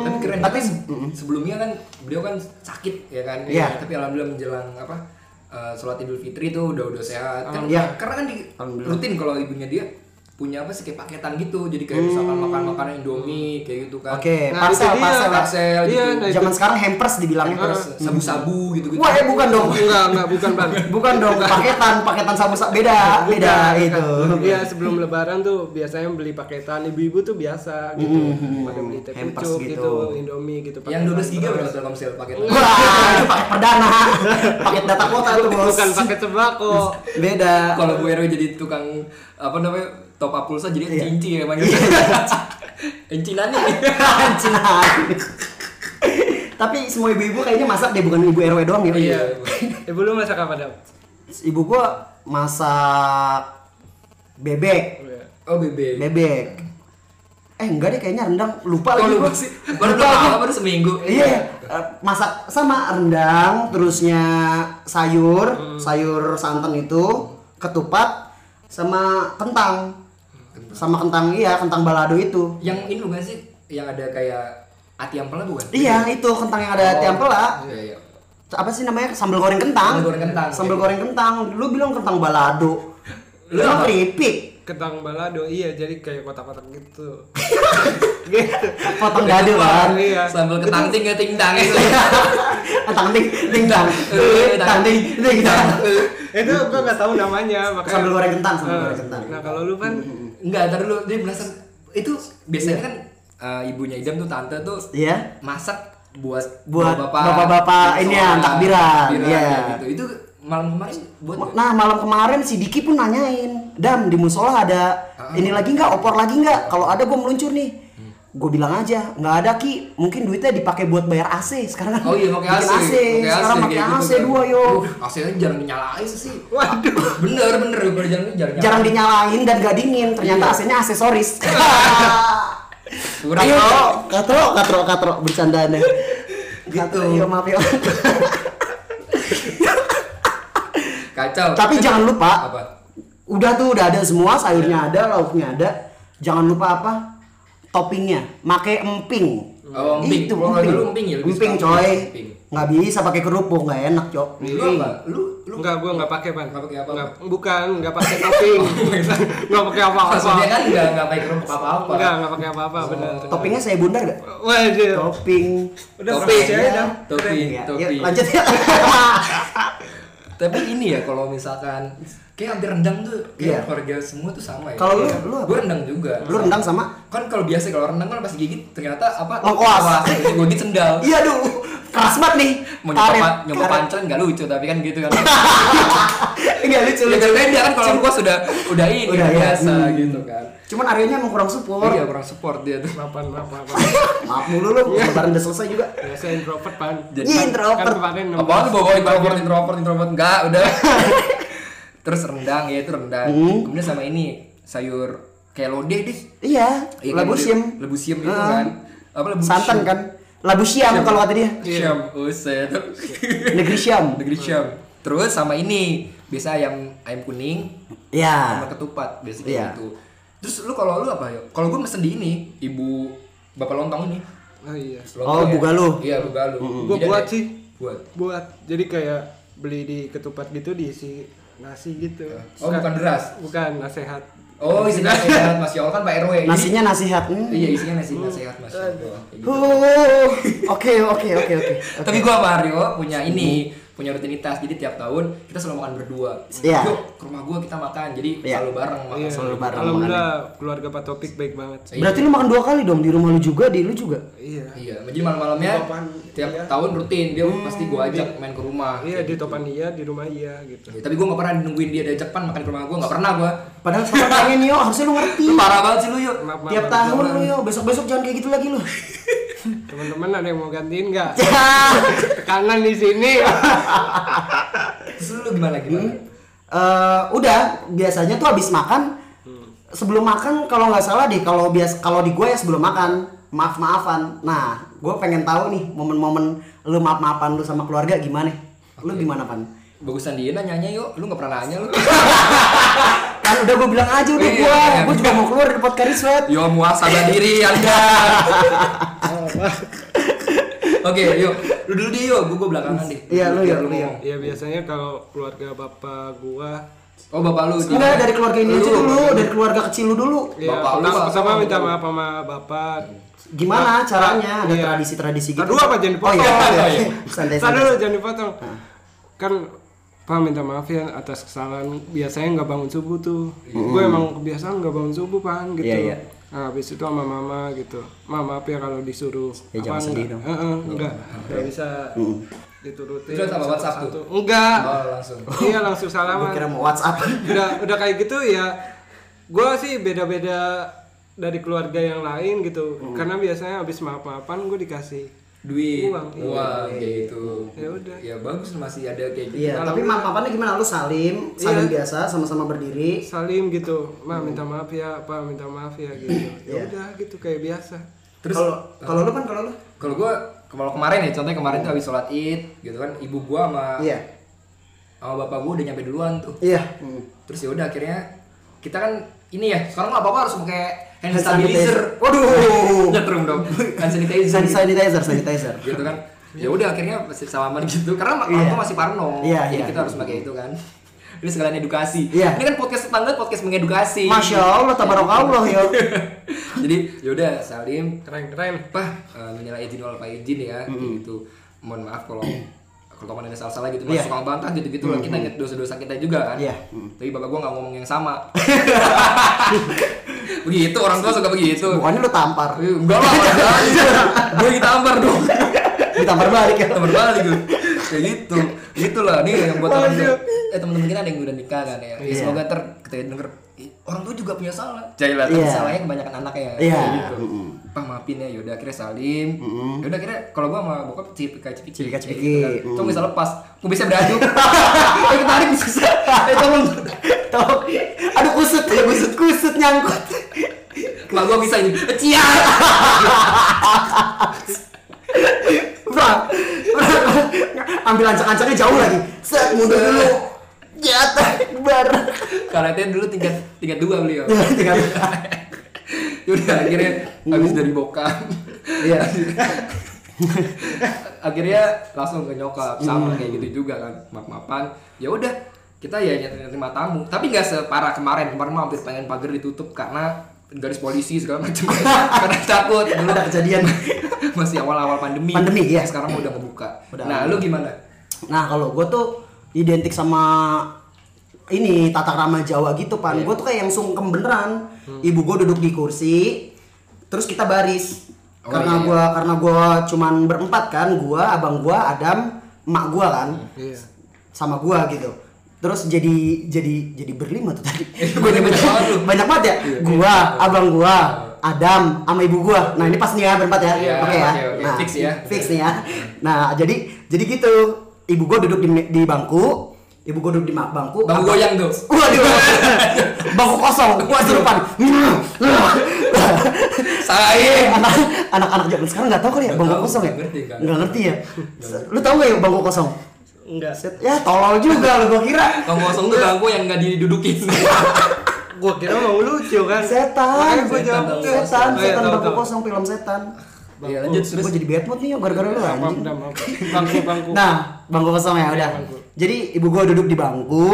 kan keren.
Hmm. Tapi- Hmm.
Tapi sebelumnya kan beliau kan sakit ya kan.
Iya.
Tapi alhamdulillah menjelang apa eh, sholat Idul Fitri tuh udah udah sehat. Kan,
Iya.
Karena kan di rutin kalau ibunya dia punya apa sih kayak paketan gitu. Jadi kayak misalkan makan makanan Indomie kayak gitu kan.
Hmm. Oke,
Nah,
parcel,
itu dia.
parcel.
Parcel
Iya,
gitu.
nah itu. Nah.
Zaman sekarang hampers dibilangnya.
Terus sabu-sabu gitu gitu.
Hmm. Wah, eh bukan dong.
Enggak, enggak bukan, Bang.
Bukan dong, paketan, paketan sabu sabu beda, beda itu.
Iya sebelum lebaran tuh biasanya beli paketan ibu-ibu tuh biasa gitu pada beli teh
Hampers
pucuk
gitu.
gitu. Indomie gitu
Yang 12 giga berapa Telkomsel paketan?
Wah, itu paket perdana. Paket data kuota tuh, Bos.
bukan pakai sembako
Beda.
Kalau Bu RW jadi tukang apa namanya top up pulsa
Iya.
jadi cinci ya manggilnya. Encinan nih.
Cinan. Tapi semua ibu-ibu kayaknya masak deh, bukan ibu RW doang ya.
iya ibu lu masak apa dong
Ibu gua masak bebek,
Iya.
Oh bebek.
bebek. Eh enggak deh kayaknya rendang lupa
Oh,
lagi
lupa
gua.
sih. Baru
Lupa
berapa
gua.
lama? Baru seminggu.
Iya, eh, masak sama rendang, terusnya
Hmm.
sayur, sayur santan itu, ketupat, sama kentang,
Hmm,
sama kentang iya, kentang balado itu.
Yang ini bukan sih? Yang ada kayak ati ampela bukan?
Iya, itu kentang yang ada tiampela.
Iya, iya.
Apa sih namanya? Sambal goreng kentang.
Sambal goreng kentang.
Sambal goreng kentang. Lu bilang kentang balado. Lu bilang keripik.
ketang balado iya jadi kayak kotak-kotak gitu
Potong dadu kan.
iya
Sambal ketanting ya tingdang itu.
Iya. Kentang ding ding dang.
Eh,
Kentang ding ding dang.
itu Eh, gua nggak tahu namanya makanya
Sambal goreng kentang, sambal
Eh,
goreng kentang.
nah kalau lu kan
Enggak, ntar dulu dia penasaran. Itu biasanya kan eh, ibunya Idam tuh tante tuh
Iya.
masak buat
Buat
bapak-bapak-
bapak-bapak ini ya,
sholat,
takbiran, iya.
ya gitu. Itu malam kemarin buat ya? nggak?
Nah malam kemarin si Diki pun nanyain, Dam di musola ada
Ah.
ini lagi nggak, opor lagi nggak? Kalau ada gue meluncur nih.
Hmm.
Gue bilang aja, nggak ada Ki. Mungkin duitnya dipakai buat bayar AC sekarang. kan
Oh iya pakai
bikin
AC.
Sekarang pakai
kayak
AC
gitu kan.
dua yo.
Uh, AC nya jarang dinyalain sih. Waduh. Bener bener bener jarang jarang.
Jarang dinyalain dan gak dingin. Ternyata AC-nya aksesoris.
Kurang
katro, katro, katro, katro bercandaannya. Gitu. Iya maaf yo.
Kacau.
Tapi jangan lupa,
apa?
udah tuh udah ada semua sayurnya ada lauknya ada jangan lupa apa toppingnya make emping
Oh, emping.
itu
Kalau
emping
dulu emping ya, lebih
emping
suka
coy
emping. Iya,
nggak bisa pakai kerupuk nggak enak cok
Lu apa? Lu lu
Enggak, gua enggak pakai, Pan.
Nggak pakai apa-apa? Oh,
Nggak- bukan, enggak pakai topping. Enggak pakai apa-apa.
maksudnya Oh. kan enggak enggak pakai kerupuk apa-apa.
Enggak, enggak pakai apa-apa, benar.
toppingnya saya bundar gak
Waduh.
topping
Udah
Topping.
fokus aja dah.
Topping,
Ya, ya,
topping.
lanjut ya
Tapi ini ya kalau misalkan kayak hampir rendang tuh kayak
Iya.
keluarga semua tuh sama ya.
Kalau lu-
Iya.
lu apa?
gua rendang juga.
lu rendang sama
kan kalau biasa kalau rendang kan pas gigit ternyata apa?
Lengkoas.
Lengkoas. Gua gigit sendal.
iya duh keras banget nih
Mau nyoba
Karet.
pa- nyoba
Karet. Iya,
pancen enggak lucu tapi kan gitu kan.
Nggak lucu
Ya
lucu
beda kan kalau gua sudah udah ini
iya. Udah,
udah
ya.
biasa
Hmm.
gitu kan.
cuman areanya emang kurang support
Iya kurang support dia tuh.
Mapan, mapan, mapan.
maaf mulu lu
Iya.
lebaran udah selesai juga
Biasa introvert, Pan.
Jadi
Iya,
kan-
Kan
introvert
kemarin
Apaan tuh bawa introvert, introvert, introvert enggak, udah. Terus rendang ya itu rendang. Kemudian sama ini sayur kayak lodeh deh.
iya
Iya, kayak
labu
lodeh.
siam
Lebu siam itu
Ah.
kan. Apa lebu
santan
siam?
kan labu siam kalau kata dia
Siam. Uset.
negeri siam
Negeri siam. Terus sama ini biasa ayam ayam kuning
ya
sama ketupat biasanya
Iya.
gitu. Terus lu kalau lu apa ya? Kalau gue mesen di ini, ibu bapak lontong ini.
Oh iya.
Lontong
Oh,
ya?
Bugaluh.
Iya, bugaluh.
Gua
Jadi
buat
ada-
sih.
Buat.
Buat jadi kayak beli di ketupat gitu diisi nasi gitu.
Oh, bukan beras.
Bukan nasihat.
Oh, isinya nasihat Mas Yol kan Pak RW. Jadi-
nasinya nasihat hmm.
Iya, isinya nasi nasihat Mas Yol doang. Kayak gitu.
Huh, oke oke oke oke
Tapi gua sama Aryo punya ini, punya rutinitas. Jadi tiap tahun kita selalu makan berdua.
Iya.
Yuk, ke rumah gua kita makan. Jadi
Iya.
selalu bareng makan.
Iya.
selalu bareng
Alhamdulillah keluarga Pak Topik baik banget.
Iya. berarti lu makan dua kali dong di rumah lu juga di lu juga
Iya.
Iya, jadi malam-malamnya
Topan,
tiap
iya.
tahun rutin dia pasti gua ajak main ke rumah.
Iya di topan iya, di rumah iya gitu.
Ya, tapi gua nggak pernah nungguin dia diajak pan makan ke rumah gua, nggak pernah gua.
padahal padahal pengen yo harusnya lu ngerti
Lu parah banget sih lu yuk.
Maaf,
tiap
maaf,
tahun lu yo besok besok jangan kayak gitu lagi lu
Teman-teman ada yang mau gantiin nggak?
Ya.
Tekanan di sini.
Terus lu gimana gimana?
Hmm?
Eh, udah biasanya tuh habis makan eh sebelum makan kalau nggak salah deh kalau bias kalau di gue ya sebelum makan maaf maafan nah gue pengen tahu nih momen-momen lu maaf maafan lu sama keluarga gimana lu gimana pan
Bagusan dia nanya yuk, lu nggak pernah nanya lu.
kan udah gue bilang aja udah
Iya,
gue
iya,
gue juga mau keluar dari podcast sweat
Yo muasabah diri Anda. Oke, yuk. Lu dulu deh yuk, gua gua belakangan deh.
Iya, lu,
Biar
yuk, lu,
ngomong.
ya biasanya kalau keluarga bapak gua
Oh, bapak lu. gimana?
enggak dari keluarga ini aja
Lu,
dulu dari keluarga kecil lu dulu
ya
Bapak lu
pertama,
apa?
pertama minta maaf sama bapak
gimana caranya ada
Iya.
tradisi-tradisi gitu
Aduh, apa jangan
oh iya,
dipotong.
iya.
Iya.
santai
Ntar
santai Ah.
dulu jangan dipotong kan Pak minta maaf ya atas kesalahan biasanya nggak bangun subuh tuh gue emang kebiasaan nggak bangun subuh pan gitu
Iya, iya.
Nah, habis itu sama mama gitu Ma maaf ya kalau disuruh
Ya, jangan sedih
enggak,
dong. Iya.
Eh, eh, enggak Nggak bisa diturutin
Terus sama WhatsApp tuh?
satu-satu. enggak
Oh, langsung.
iya langsung
gue
salaman
kira mau WhatsApp
udah udah kayak gitu ya gue sih beda-beda dari keluarga yang lain gitu karena biasanya habis maaf-maafan gue dikasih
Duit,
Uang,
uang,
iya.
kayak gitu.
ya udah
Ya bagus masih ada kayak gitu.
Iya, tapi maaf mafannya gimana? Lu Iya. salim, salim biasa, sama-sama berdiri.
salim gitu ma minta maaf ya pa minta maaf ya gitu ya udah gitu kayak biasa
Terus
Kalau kalau lu kan kalau lu?
kalau gua kalau kemarin ya, contohnya kemarin tuh habis sholat id gitu kan, ibu gua sama
Iya.
sama bapak gua udah nyampe duluan tuh.
Iya.
Terus ya udah akhirnya kita kan ini ya, sekarang nggak apa-apa harus pakai hand
Hand
sanitizer.
sanitizer. Waduh.
Nyetrum dong. Hand sanitizer.
San- Sanitizer, sanitizer.
gitu kan ya udah akhirnya masih salaman gitu karena mak-
Iya.
waktu masih parno
Iya,
jadi
iya.
kita harus pakai itu kan ini sekalian edukasi
Iya.
ini kan podcast tetangga podcast mengedukasi
Masya Allah, tabarakallah ya.
jadi yaudah salim
keren keren
apa eh, minal izin wal faizin ya kayak gitu mohon maaf kalau kalau teman ada salah-salah gitu masuk
Iya.
suka bantah gitu-gitu lah kita ingat dosa-dosa kita juga kan
Iya.
tapi bapak gua nggak ngomong yang sama begitu orang tua suka begitu
Bukannya lu tampar,
Eh, enggak lah gue ditampar dong
ditampar balik ya.
teman balik gue kayak gitu gitulah nih yang buat teman eh teman-teman kita ada yang udah nikah kan ya, ya
Iya.
semoga ter kita denger "Ih, orang tua juga punya salah jailah tapi
Iya.
salahnya kebanyakan anaknya ya
Iya.
kayak gitu Pah, maafin ya yaudah akhirnya salim yaudah akhirnya kalau gua sama bokap cipika cipiki
Cipika
kayak
cipiki.
gitu kan. Cuma bisa lepas gua bisa beradu eh ketarik bisa eh tolong
Tau, aduh kusut, kusut, kusut nyangkut.
mak gua bisa ini cia
Bra, bra, ambil ancak-ancaknya jauh lagi. Set, mundur dulu. Jatah, bar.
karate dulu tingkat tingkat dua beliau
Tinggal.
Yaudah akhirnya habis dari bokap
Iya.
akhirnya langsung ke nyokap
Hmm.
sama kayak gitu juga kan maaf maafan ya udah kita ya nyari terima tamu tapi nggak separah kemarin kemarin mah hampir pengen pagar ditutup karena garis polisi segala macam karena takut dulu
Ada kejadian.
masih awal awal pandemi
Pandemi, iya.
sekarang mah udah ngebuka
Udah.
nah lu gimana
Nah kalau gue tuh identik sama ini tata krama Jawa gitu pan.
Iya.
Gue tuh kayak yang sungkem beneran.
Hmm.
Ibu gue duduk di kursi, terus kita baris.
Oh,
karena
iya.
gua karena gua cuman berempat kan, gua, abang gua, Adam, emak gua kan,
Hmm.
iya
sama gua gitu. Terus jadi jadi jadi berlima tuh tadi. Gua
Iya, banyak
nyebut-
banget Iya, lu.
banyak banget ya. Gua, abang gua, Adam, sama ibu gua. Nah ini pas nih ya berempat ya.
Iya,
Oke ya.
oke, oke.
Nah,
Fix ya.
Fix nih ya. Nah jadi jadi gitu. Ibu gua duduk di, di bangku. Ibu gua duduk di ma- bangku.
bang
Abang-
goyang tuh
Waduh. bangku kosong. Gua
Iya.
serupan.
saya
Eh, Anak- Anak-anak zaman sekarang nggak tahu kali ya
Iya. Nggak
bangku
tahu,
kosong ya.
nggak ngerti kan.
Nggak ngerti ya. Lu tahu nggak ya bangku kosong?
enggak
Set, Ya tolol juga lu gua kira.
bang kosong tuh bangku yang nggak didudukin
gua kira mau lucu kan
Setan.
Makanya gua jawab
Setan,
enggak.
Setan,
Oh, iya,
setan
tahu,
bangku
tahu.
kosong film setan.
ya lanjut terus
Gue jadi bad mood nih ya gara-gara lu
Apa, apa,
anjing.
apa. bangku bangku
Nah, bangku kosong
Iya,
ya udah.
bangku.
Jadi ibu gua duduk di bangku.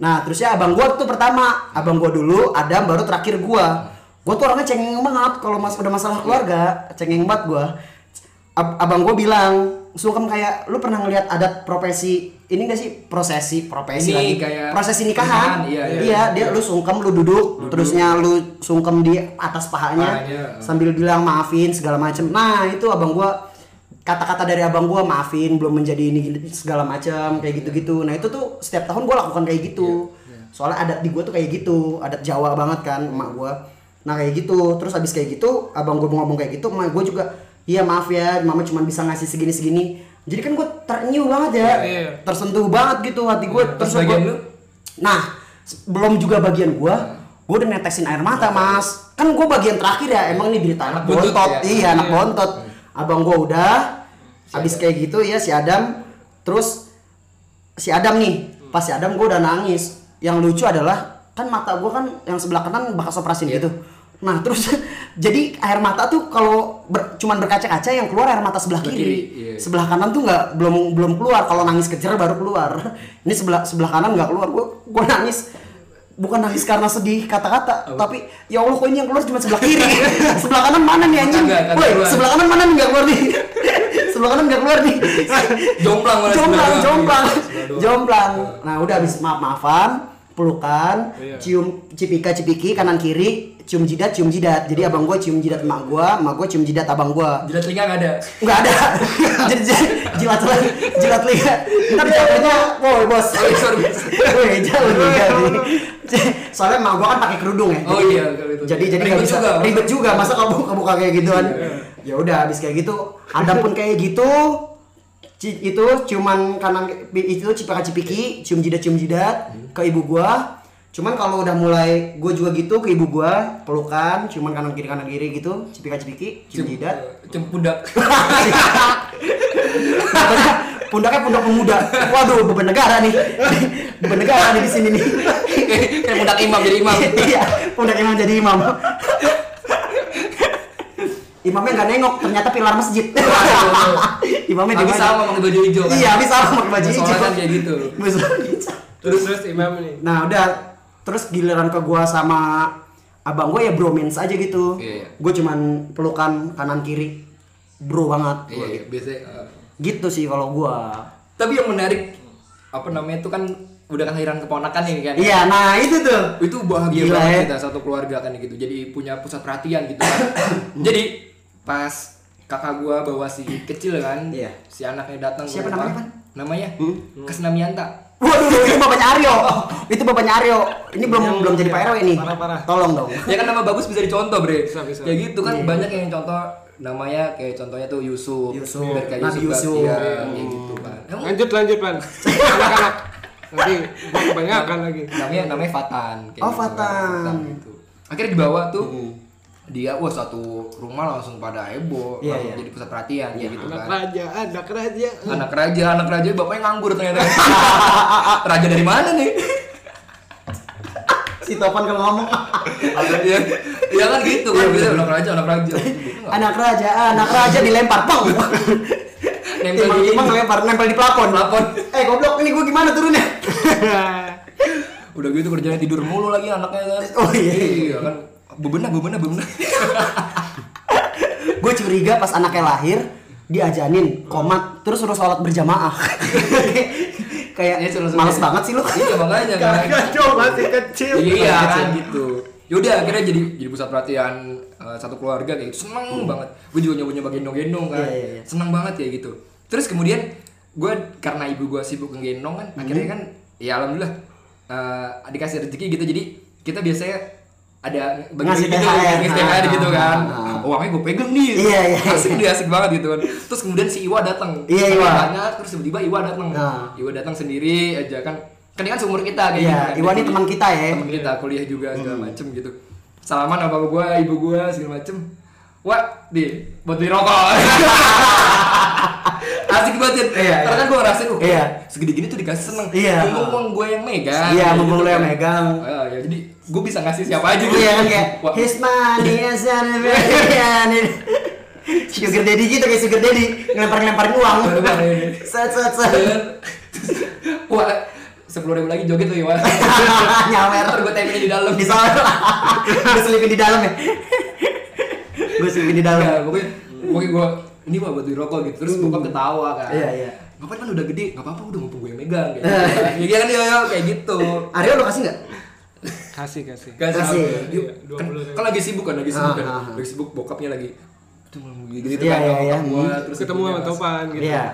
Nah, terusnya abang gua tuh pertama, abang gua dulu, Adam baru terakhir gua. Gua tuh orangnya cengeng banget kalau mas udah masalah keluarga, cengeng banget gua. Ab- abang gua bilang, sungkem kayak lu pernah ngelihat adat profesi ini gak sih prosesi profesi
Ini
lagi
kayak
prosesi nikahan,
nikahan, iya, iya.
dia lu sungkem lu duduk, terusnya lu sungkem di atas pahanya,
Pahanya, eh.
sambil bilang maafin segala macem nah itu abang gua kata-kata dari abang gua maafin belum menjadi ini segala macem kayak gitu-gitu nah itu tuh setiap tahun gua lakukan kayak gitu
Iya,
soalnya adat di gua tuh kayak gitu adat Jawa banget kan emak gua nah kayak gitu terus abis kayak gitu abang gua ngomong kayak gitu emak gua juga iya maaf ya mama cuma bisa ngasih segini-segini jadi kan gua ternyuh banget ya
Iya, iya.
tersentuh banget gitu hati gua
Terus
gua-
bagian lu?
Nah, s- belum juga bagian gua. gue udah netesin air mata mas kan gue bagian terakhir ya emang ini berita anak
Buntut,
bontot
ya.
iya anak bontot abang gue udah habis kayak gitu ya si Adam terus si Adam nih pas si Adam gue udah nangis yang lucu adalah kan mata gue kan yang sebelah kanan bekas operasi gitu nah terus jadi air mata tuh kalau ber- cuman berkaca-kaca yang keluar air mata sebelah kiri,
kiri, iya.
sebelah kanan tuh nggak belum belum keluar kalau nangis kejer baru keluar ini sebelah sebelah kanan nggak keluar gue gue nangis bukan nangis karena sedih kata-kata tapi ya Allah kok ini yang keluar cuma sebelah kiri sebelah kanan mana nih anjing
Kagak, kagak
woi
keluar.
sebelah kanan mana nih nggak keluar nih sebelah kanan nggak keluar nih
Jomplang mana
jomplang
sebelah doang.
jomplang
Iya, sebelah doang. Iya.
jomplang nah udah habis maaf maafan pelukan cium cipika cipiki kanan kiri cium jidat cium jidat
Iya.
jadi abang gue cium jidat emak gue emak gue cium jidat abang gue
Jilat telinga nggak ada.
Enggak ada. Jadi jadi- jilat lagi, jilat liga.
Iya,
Ntar jatuhnya, woi bos.
Oh, Sorry, sorry, bos.
Woi jauh juga nih. Soalnya emak gua kan pakai kerudung ya.
Oh
jadi-
iya, kalau itu.
Jadi jadi
Ribet
nggak bisa
juga. Iya.
ribet juga masa kamu kebuka kayak gituan. Ya udah habis kayak gitu, ada pun kayak gitu. ci- itu ciuman kanan itu cipika cipiki cium jidat cium jidat ke ibu gua cuman kalau udah mulai gua juga gitu ke ibu gua pelukan ciuman kanan kiri kanan kiri gitu cipika cipiki cium jidat
Cempundak.
Pundaknya, pundaknya pundak pemuda. Waduh, beban negara nih. Beban negara nih di sini nih.
Kayak pundak imam jadi imam.
Iya, pundak imam jadi imam. Imamnya nggak nengok, ternyata pilar masjid. Imamnya di
Habis
mana?
sama pakai baju hijau kan.
Iya, habis sama pakai baju
Musola
hijau.
kan kayak gitu.
Musola hijau.
terus terus imam nih
Nah udah terus giliran ke gua sama abang gua ya bromance aja gitu.
Iya, iya.
Gue cuman pelukan kanan kiri, bro banget.
Iya, iya, biasanya. uh.
Gitu sih kalau gua.
Tapi yang menarik apa namanya itu kan udah kelahiran keponakan ya kan.
Iya, nah itu tuh.
itu bahagia
Gila,
banget
ya.
kita satu keluarga kan gitu jadi punya pusat perhatian gitu kan jadi pas kakak gua bawa si kecil kan
Iya.
si anaknya datang
Siapa
ke rumah.
namanya, Pan? Hmm?
namanya Kesnamianta
Waduh, itu bapaknya Aryo. Itu bapaknya Aryo. Ini belum belum jadi Pak RW nih.
Parah, parah.
Tolong dong.
ya kan nama bagus bisa dicontoh bre
Bisa, bisa.
kayak gitu
Iya.
kan banyak yang contoh namanya kayak contohnya tuh Yusuf
Yusuf.
Biar kayak
Nabi
Yusuf,
Yusuf. Iya.
Baktiar, kayak gitu kan Emang
lanjut lanjut pan anak-anak nanti gua kebanyakan lagi
namanya namanya Fatan kayak
Oh,
gitu kan.
Fatan.
gitu. akhirnya dibawa tuh
Hmm.
dia wah satu rumah langsung pada heboh
Iya,
langsung
iya.
jadi pusat perhatian kayak gitu
anak
kan
raja anak raja
anak raja anak raja bapaknya nganggur ternyata raja dari mana nih
Si Topan kalau ngomong.
ya, ya kan gitu
Iya,
kan bisa anak raja anak raja
Anak raja, anak raja dilempar pong.
Nempel
Emang
di ini.
emang lempar nempel di iya. plafon.
Plafon.
Eh goblok, ini gue gimana turunnya?
udah gitu kerjanya tidur mulu lagi anaknya kan
Oh, iya.
kan bebenah bebenah bebenah
gue curiga pas anaknya lahir diajanin komat terus suruh sholat berjamaah.
Iya,
Kayak
suruh- suruh.
males banget sih lu.
iya makanya kan
masih kecil
iya kan gitu yaudah akhirnya jadi jadi pusat perhatian eh, satu keluarga kayak gitu seneng banget gue juga nyoba nyoba gendong gendong kan
Hmm. Iya, iya, iya.
seneng banget kayak gitu terus kemudian gue karena ibu gue sibuk ngegendong kan
Hmm.
akhirnya kan ya alhamdulillah eh, dikasih rezeki gitu jadi kita biasanya ada
Ngasih
gitu,
THR.
ngasih THR gitu kan
Ah,
uangnya gue pegang nih
Iya, iya,
asik nih asik banget gitu kan terus kemudian si Iwa datang
Iya, Iwa.
Tanya, terus tiba-tiba Iwa datang
Ah.
Iwa datang sendiri aja kan kan dia kan seumur kita kayak
Iya,
gitu kan.
Iwan ini teman kita ya. Hmm.
Temen kita kuliah juga segala macem gitu salaman sama bapak gua ibu gua segala macem wah di buat beli rokok asik banget ya
Iya,
karena
iya.
kan gua ngerasain uh
Iya.
segede gini tuh dikasih seneng
Iya.
mumpung uang gua yang megang
Iya,
Kayak
mumpung
gitu
lu yang
kan.
megang.
Ah, ya jadi gua bisa ngasih siapa aja gitu
Iya kan kayak
Wah,
his money is an Sugar daddy gitu kayak sugar daddy ngelempar-ngelemparin uang. Set set set.
wah sepuluh ribu lagi joget tuh ya wah
Nyawer.
ntar gua tempelin di dalam
Di sana. Gue selipin di dalam ya. Gue selipin di dalam.
Iya, pokoknya pokoknya gue ini mah buat beli rokok gitu terus bokap ketawa kan
Iya, iya.
ngapain kan udah gede nggak apa-apa udah mumpung gue yang megang kayak gitu kan. Iya kan iya iya, kayak gitu
Aryo lo kasih nggak?
kasih kasih
Gak
Kasih.
Iya,
Yuk, kan, kan lagi sibuk kan lagi sibuk kan
Ah, ah, ah.
lagi sibuk bokapnya lagi tuh gitu gitu
Iya,
kan
iya,
sama
iya.
bokap gua,
Hmm.
terus
ketemu
ibunya
sama
masuk.
topan gitu
Iya.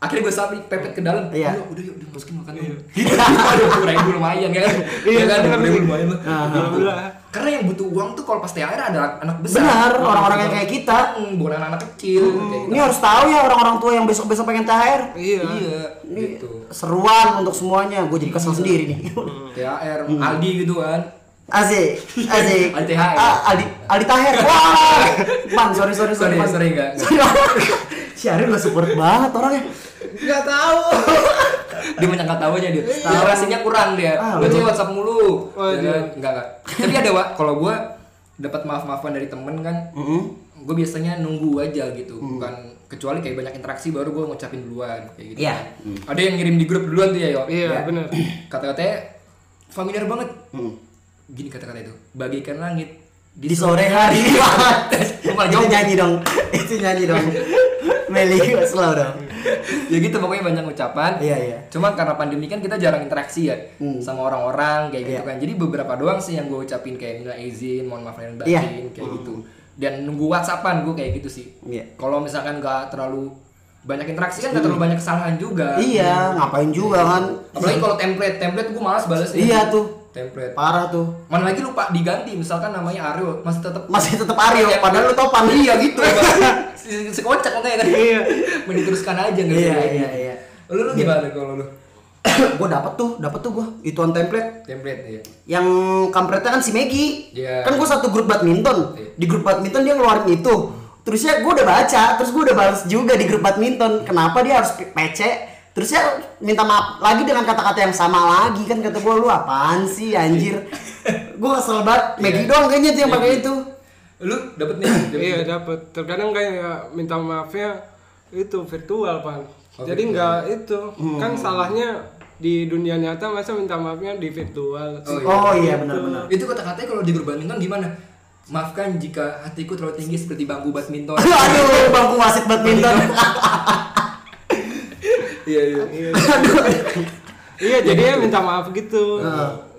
akhirnya gue sampai pepet ke dalam
Iya.
Ayo, udah yuk udah masukin makan
Iya.
dulu gitu aduh dua ribu lumayan kan iya kan dua ribu lumayan
Ah,
lah
Iya, alhamdulillah
karena yang butuh uang tuh kalau pas THR ada anak besar
Benar, orang-orang yang kayak kita. Hmm.
Hmm, bukan anak-anak kecil kayak gitu.
Ini harus tahu ya orang-orang tua yang besok-besok pengen THR.
iya
iya
Ini
gitu
seruan untuk semuanya. Gue jadi kesel sendiri nih.
THR Aldi gitu kan
Asik, asik.
Aldi Taher.
Ah, Aldi, Aldi Taher. Wah, man, sorry, sorry,
Sorry,
sorry, man.
sorry, enggak,
Sorry, Si Ariel udah support banget orangnya.
Gak tahu. dia menyangka tahu aja dia. Literasinya kurang dia.
Ah,
Baca
lu.
WhatsApp mulu.
Oh,
Ya,
iya.
Enggak enggak. Tapi ada Wak, kalau gua dapat maaf-maafan dari temen kan, gue biasanya nunggu aja gitu, bukan kecuali kayak banyak interaksi baru gue ngucapin duluan kayak gitu.
Iya.
Ada yang ngirim di grup duluan tuh ya, yo.
Iya, bener.
Kata-katanya familiar banget. Gini kata-kata itu. Bagaikan langit
Di sore hari.
Lupa
Itu
jauh.
nyanyi dong. Itu nyanyi dong. Meli slow dong.
ya gitu pokoknya banyak ucapan
Iya, iya. Hmm.
cuma karena pandemi kan kita jarang interaksi ya sama orang-orang kayak gitu
Iya.
kan jadi beberapa doang sih yang gue ucapin kayak minta izin mohon maaf lahir dan batin
Iya.
kayak gitu dan nunggu whatsappan gue kayak gitu sih
Iya.
kalau misalkan gak terlalu banyak interaksi kan gak terlalu banyak kesalahan juga
Iya, ngapain juga kan?
apalagi kalau template template gue malas balas
Iya tuh,
ya. template
parah tuh.
mana lagi lupa diganti misalkan namanya Ariel masih tetap
Masih tetap Aryo, padahal lu topan.
iya gitu Se- sekocak makanya kan
Iya.
mending teruskan aja nggak
Iya,
usah.
iya, iya.
lu lu gimana kalau lu
Gua dapet tuh, dapet tuh gua. Ituan template.
template ya
yang kampretnya kan si Megi
Iya.
kan gue satu grup badminton di grup badminton dia ngeluarin itu terusnya gue udah baca terus gue udah balas juga di grup badminton kenapa dia harus PC terusnya minta maaf lagi dengan kata-kata yang sama lagi kan kata gue lu apaan sih anjir gue
Iya.
kesel banget Megi doang kayaknya tuh yang pakai itu
lu dapet nih dapet
Iya dapat. Terkadang kayak ya, minta maafnya itu Oh, virtual pan. Jadi nggak itu kan salahnya di dunia nyata masa minta maafnya di virtual.
Oh,
oh iya benar-benar
itu kata-katanya kalau di grup badminton gimana maafkan jika hatiku terlalu tinggi seperti bangku badminton
aduh aduh bangku wasit badminton
iya iya
Iya jadi ya minta maaf gitu.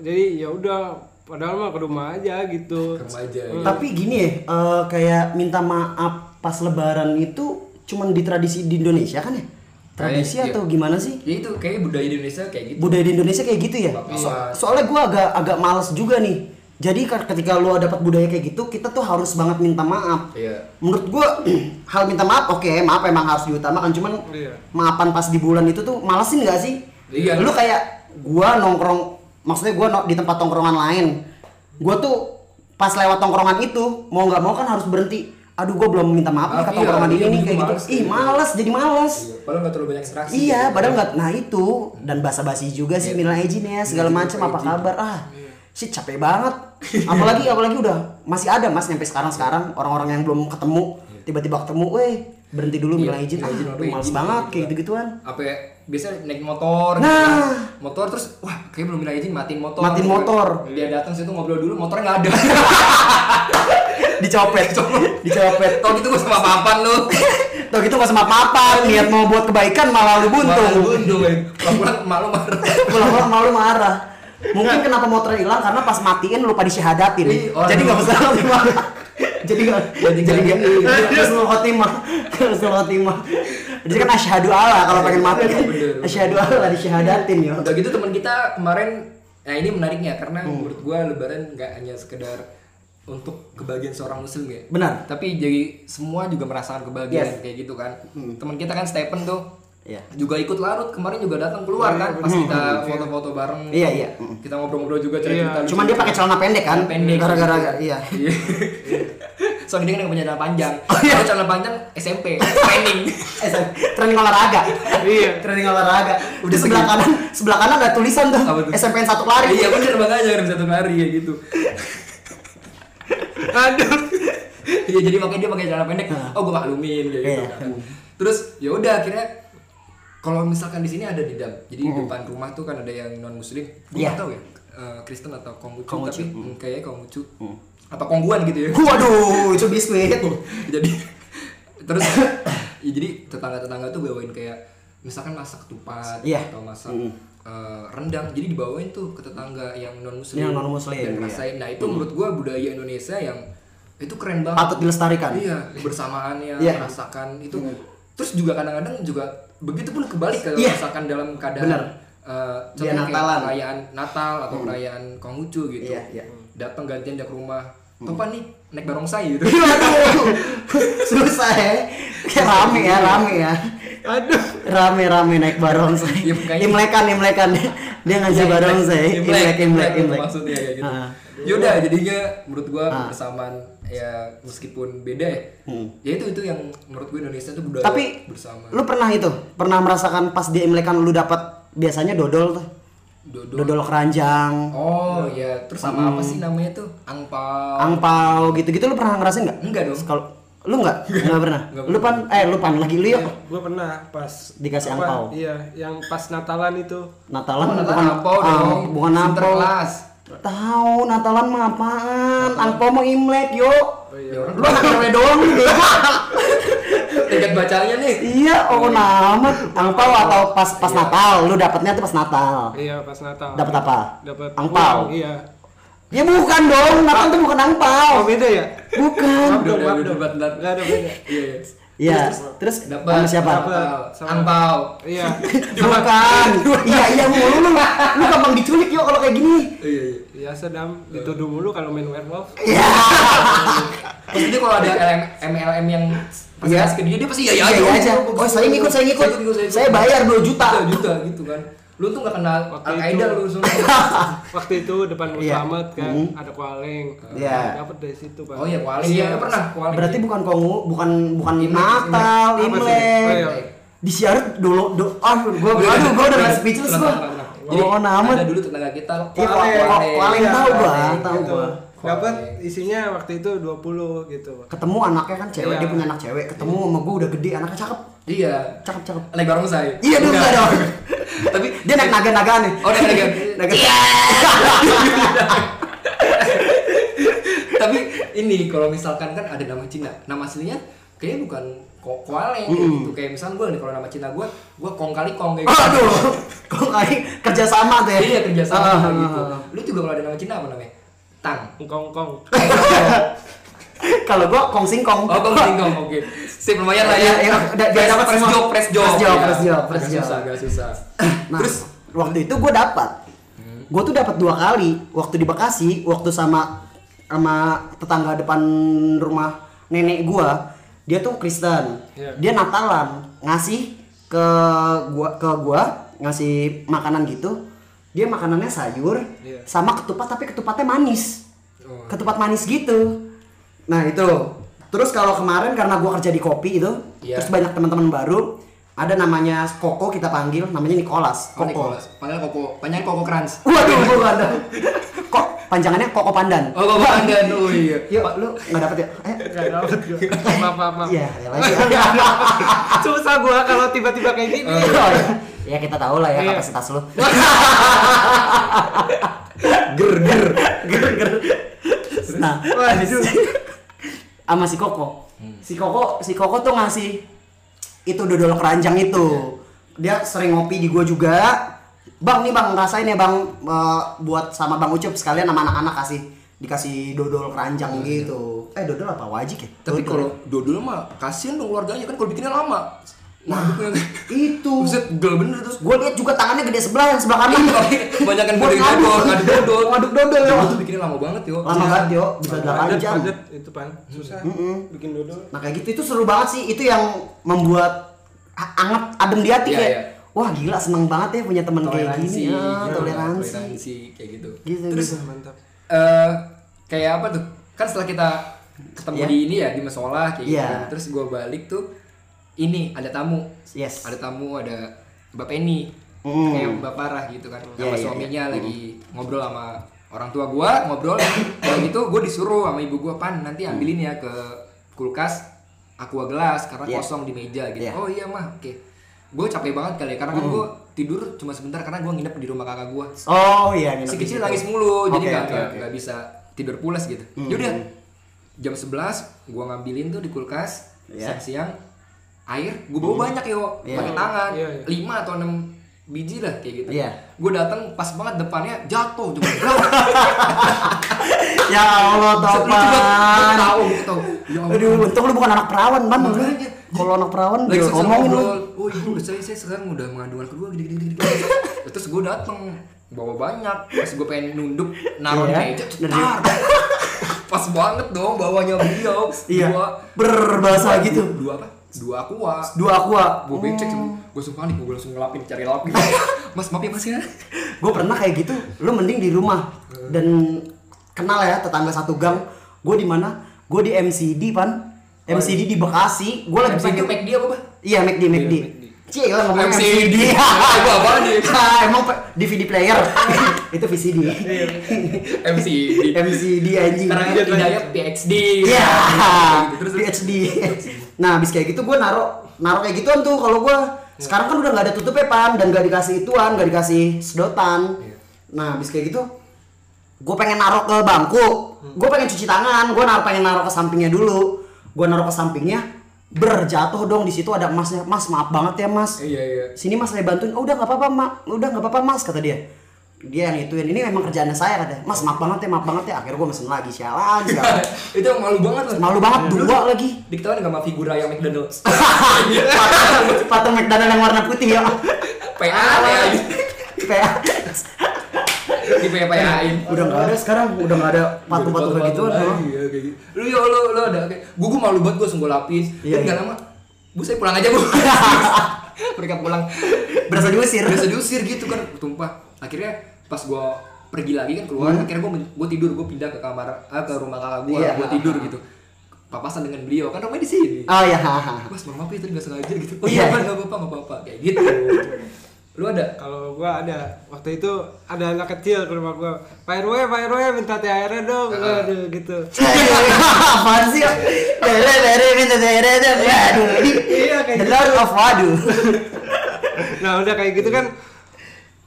Jadi ya udah padahal mah ke rumah aja gitu.
remaja ya.
tapi gini ya eh, kayak minta maaf pas lebaran itu cuman di tradisi di Indonesia kan ya tradisi
Kayaknya,
atau gimana sih
ya itu kayaknya budaya di Indonesia kayak gitu
budaya di Indonesia kayak gitu ya.
Bakal.
So- soalnya gua agak agak males juga nih. Jadi kan ketika lu dapat budaya kayak gitu, kita tuh harus banget minta maaf.
iya
Menurut gua hal minta maaf oke, maaf emang harus diutamakan, cuman
Iya.
maafan pas di bulan itu tuh malesin gak sih?
Iya.
Lu kayak gua nongkrong, maksudnya gua no- di tempat tongkrongan lain. Gua tuh pas lewat tongkrongan itu mau nggak mau kan harus berhenti. Aduh, gua belum minta maaf nih
Maaf,
ke
iya,
tongkrongan
iya,
ini
gua
nih kayak gitu.
males kayak
Ih,
gitu.
males jadi males.
Iya, padahal nggak terlalu banyak interaksi
Iya,
gitu.
padahal nggak. Nah itu dan basa-basi juga sih Mila Ejin ya segala macam apa kabar ah. Sih capek banget. Apalagi apalagi udah masih ada Mas nyampe sekarang-sekarang orang-orang yang belum ketemu tiba-tiba ketemu, weh berhenti dulu Iya. Mila Ejin.
Mila
Ah,
Ejin,
aduh,
Mila
males
Ejin,
banget
gitu
kayak
kan.
gitu-gituan.
apa ya biasanya naik motor gitu
Nah.
kan. motor terus wah kayak belum bilang izin matiin motor
Matiin
Gitu.
motor.
dia datang situ ngobrol dulu motornya nggak ada
Dicopet, dicopet.
tau gitu gue sama papan lu
Tuh gitu gak sama papa, niat mau buat kebaikan malah lu
Malah
buntung.
buntung ya pulang malu marah
Pulang-pulang malu marah. Mungkin kenapa motor hilang karena pas matiin lupa disyahadatin.
Ih, orang-
Jadi nggak bisa Jadi nggak
Jadi
jadi
nggak- gitu.
nggak iya, husnul khotimah. Husnul khotimah. Jadi kan asyhadu alla kalau pengen mati kan.
Iya, Bener, bener.
Asyhadu alla disyahadatin yo.
Udah gitu teman kita kemarin nah ini menariknya karena
Hmm.
menurut gua lebaran nggak hanya sekedar untuk kebahagiaan seorang muslim ya.
Benar.
Tapi jadi semua juga merasakan kebahagiaan
Yes. Hmm.
kayak gitu kan. Teman kita kan Stephen tuh
Iya. Hmm.
juga ikut larut kemarin juga datang keluar kan pas kita foto-foto bareng. Hmm.
Iya, iya.
Kita ngobrol-ngobrol juga cerita-cerita. lucu.
Cuman dia pakai celana pendek kan?
Pendek.
Gara-gara iya.
Iya. Soalnya dia kan nggak punya celana panjang.
Oh, iya.
Kalau celana panjang SMP, training.
Eh, sorry. training olahraga.
Iya.
Training olahraga. Udah sebelah kanan, sebelah kanan ada tulisan tuh.
Iya. Apa tuh?
SMPN satu lari.
iya bener makanya harus satu lari ya gitu.
Aduh.
Iya jadi makanya dia pakai celana pendek. Oh gue maklumin kayak gitu.
Iya.
kan. Terus ya udah akhirnya kalau misalkan di sini ada di dam, jadi depan rumah tuh kan ada yang non muslim, gue
Iya.
nggak tahu ya eh, Kristen atau Konghucu, tapi mm, kayaknya Konghucu atau Kongguan gitu ya.
Waduh, itu biskuit.
jadi terus ya jadi tetangga-tetangga tuh bawain kayak misalkan masak ketupat
Iya.
atau masak eh, rendang jadi dibawain tuh ke tetangga yang non muslim
Yang non-muslim,
dan
iya.
ngerasain nah itu menurut gua budaya Indonesia yang itu keren banget
Patut dilestarikan.
iya bersamaannya
Iya.
merasakan itu terus juga kadang-kadang juga begitu pun kebalik kalau
Iya.
merasakan dalam keadaan
Bener.
eh,
Dia
contohnya kayak
Natalan.
perayaan Natal atau perayaan Konghucu gitu
Iya, iya.
datang gantian dia ke rumah Topan nih naik barongsai gitu
Waduh, susah ya. Kayak rame ya, rame ya.
Aduh.
Rame rame naik barongsai.
Iya, makanya.
Imlekan, imlekan. Dia ngajak barongsai.
Imlek,
Imlek, imlek,
Imlek,
imlek.
maksudnya kayak gitu.
Ah.
Yaudah jadinya menurut gua kebersamaan ya meskipun beda ya. Ya itu itu yang menurut gua Indonesia tuh budaya
Hmm. Tapi
bersama.
lu pernah itu? Pernah merasakan pas di Imlek kan lu dapat biasanya dodol tuh.
Dodol.
Dodol keranjang,
Oh iya, terus sama
Hmm.
apa sih namanya tuh? Angpau.
angpau gitu-gitu lu pernah ngerasain nggak?
Enggak dong.
Kalau lu nggak? Nggak pernah. Lu pan eh lu pan lagi lu yuk.
Iya.
gue pernah pas
Dikasih
apa,
angpau.
iya yang pas Natalan itu
Natalan
Oh, Natalan
bukan
angpau
ah,
dong.
bukan angpau.
Sinterklas.
Tahu Natalan mah apaan? Angpau mau Imlek yuk.
Ya orang
Lu anak cewek doang lu bego.
tiket bacanya nih.
Iya, oh nama angpau atau pas pas Natal, lu dapatnya tuh pas Natal.
iya pas Natal
Dapat apa?
dapat
Angpau.
uang, iya
Ya bukan dong, Natal tuh bukan angpau.
oh beda ya
Bukan.
Udah, udah, udah, udah, udah, udah.
nggak ada beda
Iya, iya.
Iya, terus
Dapat
sama siapa?
Dapat.
Sama- Angpau.
iya
Bukan. Iya, iya mulu lu. Lu gampang diculik yuk kalau kayak gini.
Iya, iya.
biasa dam dituduh mulu kalau main werewolf
Iya.
Terus itu kalau ada LM, MLM yang pasti
Iya.
ke dia, dia pasti iya iya
Iya, iya aja.
Gua- gua-
Oh, saya ngikut, saya ngikut. Saya
ikut.
bayar 2 juta.
Juta, juta gitu kan. Lu tuh gak kenal
Waktu
Al-Qaeda
itu-
lu semua.
waktu itu depan Bung
Iya.
Slamet kan ada kualeng
Iya.
dapat dari situ pak
Oh iya, kuali. Iya, lu pernah kuali.
Berarti bukan kongu, bukan bukan
Imlek,
Natal,
Imlek. Apa sih? Oh, iya.
Imlek. Disiarat dulu do ah gua gua- aduh gua udah nggak speechless gua.
Jadi,
Oh, nama.
ada dulu tetangga kita.
Iya,
kuali,
kuali. Kuali, tahu gua,
kuali,
tahu
gitu.
gua.
dapat isinya waktu itu 20 gitu
Ketemu anaknya kan cewek,
Iya.
dia punya anak cewek. Ketemu sama gua udah gede, anaknya cakep.
Iya.
Cakep cakep.
Naik bareng saya.
Iya, dia enggak dong.
Tapi
Dia naik naga-naga nih.
Oh, naik naga.
Naga.
tapi ini kalau misalkan kan ada nama Cina nama aslinya kayaknya bukan ko koale gitu kayak misalnya gue nih kalau nama Cina gue gue kong kali kong kayak gitu
Aduh. Kok kayak kerja sama tuh ya?
iya kerja sama
Ah,
kayak
ah,
gitu
ah.
lu juga kalau ada nama Cina apa namanya Tang
kongkong
Kalau gua kong
oh
singkong.
kong singkong oke sip lumayan lah ya
Iya, iya, udah, biar
Press-
dapat
press
semua.
job press job
Press job,
ya.
press job, press
Agak
job.
susah agak susah
Nah,
terus
terus waktu itu gue dapat, gue tuh dapat dua kali. Waktu di Bekasi, waktu sama sama tetangga depan rumah nenek gue, dia tuh Kristen.
Iya.
Dia Natalan ngasih ke gua ke gua ngasih makanan gitu. Dia makanannya sayur
Iya.
sama ketupat tapi ketupatnya manis.
Oh.
Ketupat manis gitu. Nah, itu. Terus kalau kemarin karena gua kerja di kopi itu,
Iya.
terus banyak teman-teman baru, ada namanya Koko kita panggil, namanya Nicholas.
oh,
Koko.
Nicholas panggil koko panjang koko Kranz
Waduh, gua ada. Kok panjangannya Koko Pandan.
oh koko Pandan oh iya
Yuk, lu nggak dapet ya? Eh,
nggak dapat gue maaf maaf maaf
iya, ya lagi. ya.
susah gua kalau tiba-tiba kayak gini
Oh, ya kita tahu lah ya
Iya.
kapasitas lu. ger ger ger ger. Nah,
Waduh.
sama si Koko. Si Koko, si Koko tuh ngasih itu dodol keranjang itu. Dia sering ngopi di gua juga. Bang nih bang ngerasain ya bang Eh, buat sama bang Ucup sekalian sama anak-anak kasih dikasih dodol keranjang gitu. Eh dodol apa wajik ya?
tapi
Dodol.
kalau dodol mah kasihan dong keluarganya kan kalau bikinnya lama Mabuknya.
Nah. itu
Buset, gel bener terus
gue lihat juga tangannya gede sebelah yang sebelah kanan
Iya. Kebanyakan
Buat
gede dodol,
ngaduk.
ngaduk dodol
Ngaduk dodol, yo.
Dodol tuh bikinnya lama banget yo Iya.
lama banget yo bisa delapan
Padat,
jam
padat, itu pan susah bikin dodol
nah kayak gitu itu seru banget sih itu yang membuat a- anget adem di hati
Iya,
kayak
iya.
wah gila seneng banget ya punya teman kayak
Toleransi
gini ya,
gitu,
toleransi
Toleransi, kayak gitu
gitu
Terus
gitu.
mantap
eh, kayak apa tuh Kan setelah kita ketemu
Iya.
di ini ya di musola kayak gitu
Iya.
kan. Terus gue balik tuh ini ada tamu
yes
Ada tamu ada Mbak Penny
Mm.
Kayak Mbak Parah gitu kan
Iya,
Sama
iya,
suaminya lagi ngobrol sama orang tua gue Ngobrol Kayak gitu gue disuruh sama ibu gue Pan nanti
Hmm.
ambilin ya ke kulkas Aqua gelas karena
Iya.
kosong di meja gitu
Iya. Hmm.
Oh iya mah oke Gue capek banget kali ya karena kan gue tidur cuma sebentar karena gue nginep di rumah kakak gue
oh iya nginep
si
di
kecil
situ.
nangis mulu jadi
Oke,
nggak nggak-
oke, oke. Hmm.
nggak bisa tidur pulas gitu yaudah jam 11 gua ngambilin tuh di kulkas
Iya.
siang-siang air gua bawa banyak yo
Iya.
pakai tangan
Iya, iya.
5 atau 6 biji lah kayak gitu
Iya.
gua datang pas banget depannya jatuh cuma
ya allah topan
tahu tahu ya Allah.
aduh untung lu bukan anak perawan man
Makanya.
kalau anak perawan
Lagi
dia
selesai
ngomongin lu
ngobrol, oh ibu udah saya, saya sekarang udah mengandungan kedua gini gini gini, gini." terus gue dateng bawa banyak pas gue pengen nunduk naruh
Iya.
meja cetar pas banget dong bawanya beliau
iya
dua
berbahasa gitu
dua
Oh.
apa dua aqua
dua aqua Hmm.
gue becek gue langsung panik gue langsung ngelapin cari lapi mas maaf ya mas ya
gue pernah kayak gitu lu mending di rumah dan kenal ya tetangga satu gang gue di mana gue di MCD
Oh,
pan
iya.
MCD di Bekasi gue lagi
Sampai ke
bikin
Mac dia apa bah?
iya McD McD Cie lah ngomong
MCD. Apa apaan nih?
Ah, Iya. emang pe- DVD player itu VCD
MC
MCD
Iya.
anjing
Sekarang ya,
Lanjut, lanjut.
Hidayat PhD
Iya.
Terus
PhD. Nah, habis kayak gitu gue naro naro kayak gituan tuh kalau
Iya.
gue sekarang kan udah nggak ada tutupnya pan dan gak dikasih ituan, gak dikasih sedotan.
Iya.
Nah, habis kayak gitu gue pengen naro ke bangku,
Hmm.
gue pengen cuci tangan, gue naro pengen naro ke sampingnya dulu, gue naro ke sampingnya, berjatuh dong di situ ada emasnya, mas maaf banget ya mas,
Iya iya
sini mas saya bantuin, oh, udah nggak apa-apa mak, udah nggak apa-apa mas kata dia, dia yang ituin, ini memang kerjaannya saya kata, mas maaf banget ya maaf banget ya, akhirnya gue mesen lagi sialan, sialan.
Itu malu banget lah
Malu banget dua lagi.
Diketahuan nggak sama figura yang McDonald's
Patung- Patung McDonald yang warna putih ya.
PA ya
Kayak
Di PA-in
udah nggak ada sekarang, udah nggak ada patung-patung kayak gitu.
Patung-patung
no.
lagi, ya, kayak gitu. Lu yo lu lu ada kayak gua gua malu banget gua senggol lapis. Iya.
Iya,
Enggak
iya.
lama. Bu saya pulang aja, Bu. Mereka pulang.
Berasa diusir.
Biasa diusir gitu kan, tumpah. Akhirnya pas gua pergi lagi kan keluar, akhirnya gua men- gua tidur, gua pindah ke kamar ah, ke rumah kakak gua,
Hmm. Iya.
gua tidur gitu. Papasan dengan beliau, kan rumahnya di sini.
Oh ya, hahaha.
Mas, maaf maaf ya tadi nggak sengaja gitu. Oh
Iya.
iya, nggak apa-apa, nggak apa-apa. Kayak gitu. Lu ada?
Kalau gua ada waktu itu ada anak kecil ke rumah gua. Pak RW, Pak RW minta THR E dong. Aduh gitu.
Apaan sih? ya? Lele lele minta lele lele. Waduh.
Iya, kayak
The Lord of Waduh.
Nah, udah kayak gitu kan.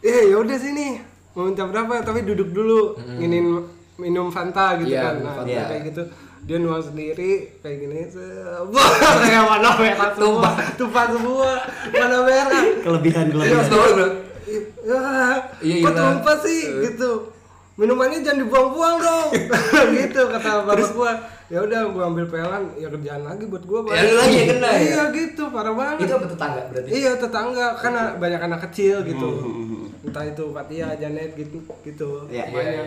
Eh, ya udah sini. Mau minta berapa? Tapi duduk dulu. Nginin minum Fanta gitu
Iya,
kan.
minum
Nah,
Fanta.
udah kayak gitu. Dia nuang sendiri kayak gini. se- Wah, kayak warna merah semua. Tumpah semua. Warna merah.
Iya,
Kelebihan kelebihan.
tahu bro.
Ya,
Iya, iya.
kok tumpah sih gitu minumannya jangan dibuang-buang dong gitu kata bapak gua ya udah gua ambil pelan ya kerjaan lagi buat gua Pak.
Ya, lu lagi yang kena, ya?
iya gitu parah banget
Itu apa tetangga berarti?
iya tetangga karena banyak anak kecil gitu entah itu Fatia Janet gitu gitu
Iya,
banyak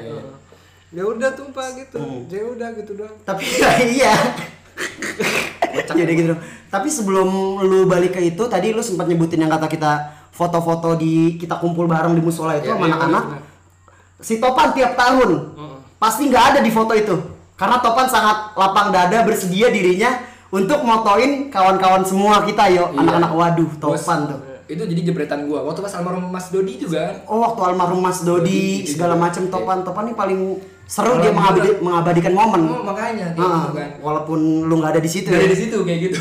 ya udah tumpah gitu ya udah gitu doang
Tapi iya. Jadi gitu. dong. Tapi sebelum lu balik ke itu tadi lu sempat nyebutin yang kata kita foto-foto di kita kumpul bareng di musola itu sama anak-anak. Si Topan tiap tahun pasti nggak ada di foto itu karena Topan sangat lapang dada bersedia dirinya untuk motoin kawan-kawan semua kita yo anak-anak waduh Topan tuh.
Itu jadi jepretan gua. Waktu pas almarhum Mas Dodi juga kan.
Oh waktu almarhum Mas
Dodi,
Dodi segala
iya.
macam Topan Topan nih paling seru
Kalau
dia
yang
mengabadi- mengabadikan momen.
Oh, makanya kayak gitu
Ah,
kan.
walaupun lu nggak ada di situ ya.
Dari di situ kayak gitu.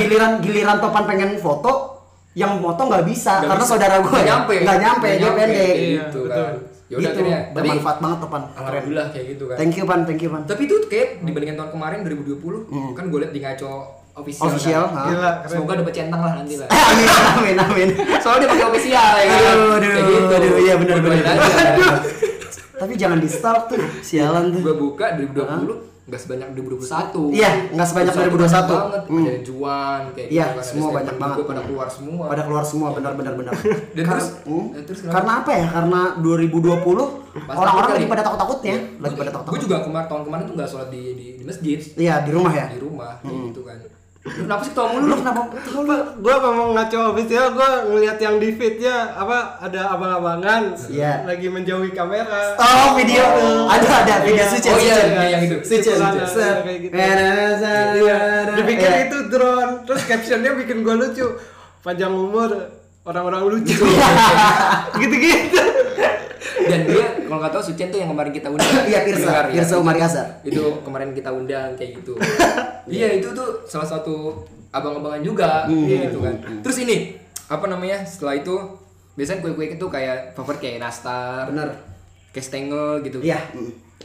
giliran giliran topan pengen foto yang moto nggak bisa
Nggak
karena
bisa.
saudara gue
Nggak nyampe.
nggak nyampe
Nggak
dia
nyampe,
pendek
kayak
Iya,
gitu
betul.
kan. Ya udah
Gitu.
akhirnya. Tapi
bermanfaat banget topan keren
alhamdulillah kayak gitu kan.
thank you Hmm. pan thank you pan
Tapi itu kayak dibandingkan tahun kemarin 2020 kan gue liat di ngaco official.
Hmm. official ah.
kan.
ha?
Gila, keren.
Semoga dapat centang lah nanti lah.
amin amin amin
Soalnya dia pakai official ya kan.
Aduh, aduh,
Kayak gitu.
aduh, iya benar,
Gua
benar.
doain aja.
tapi jangan di stalk tuh sialan tuh
kan. Gua buka 2020 nggak sebanyak 2021.
Iya, nggak sebanyak
2021.
2021.
banget. Ada juan kayak
Hmm. Iya,
kan. Ada
semua
statement
banyak
juga
banget.
pada keluar semua.
pada keluar semua benar benar benar
Dan
Kar-
terus-
hmm?
dan terus kenapa?
karena apa ya karena 2020
Pas
orang-orang
takut
lagi
kali.
pada takut takutnya lagi pada
Gue
takut takut
Iya. juga kemarin tahun kemarin tuh nggak sholat di di, di masjid
iya di rumah ya
di rumah kayak gitu kan. Lu kenapa sih ketemu lu?
lu kenapa
gue ngomong ngaco official gue ngeliat yang di feednya apa ada abang-abangan
Iya.
lagi menjauhi kamera
oh video ada ada video
Iya.
suci
Oh iya,
suci.
yang- yang itu.
Switch and
Celana,
switch.
kayak gitu.
Iya.
Dipikir
Iya.
itu drone, terus captionnya bikin gua lucu. Panjang umur orang-orang lucu. Gitu-gitu.
Dan dia kalau nggak tahu Sucen tuh yang kemarin kita undang.
Iya Pirsa,
Pendengar, ya.
Pirsa Umar Yazar.
Itu kemarin kita undang kayak gitu. Iya itu tuh salah satu abang-abangan juga
Hmm.
kayak gitu kan. Terus ini apa namanya? Setelah itu biasanya kue-kue itu kayak favorit kayak nastar,
Bener.
kayak stengel gitu.
Iya.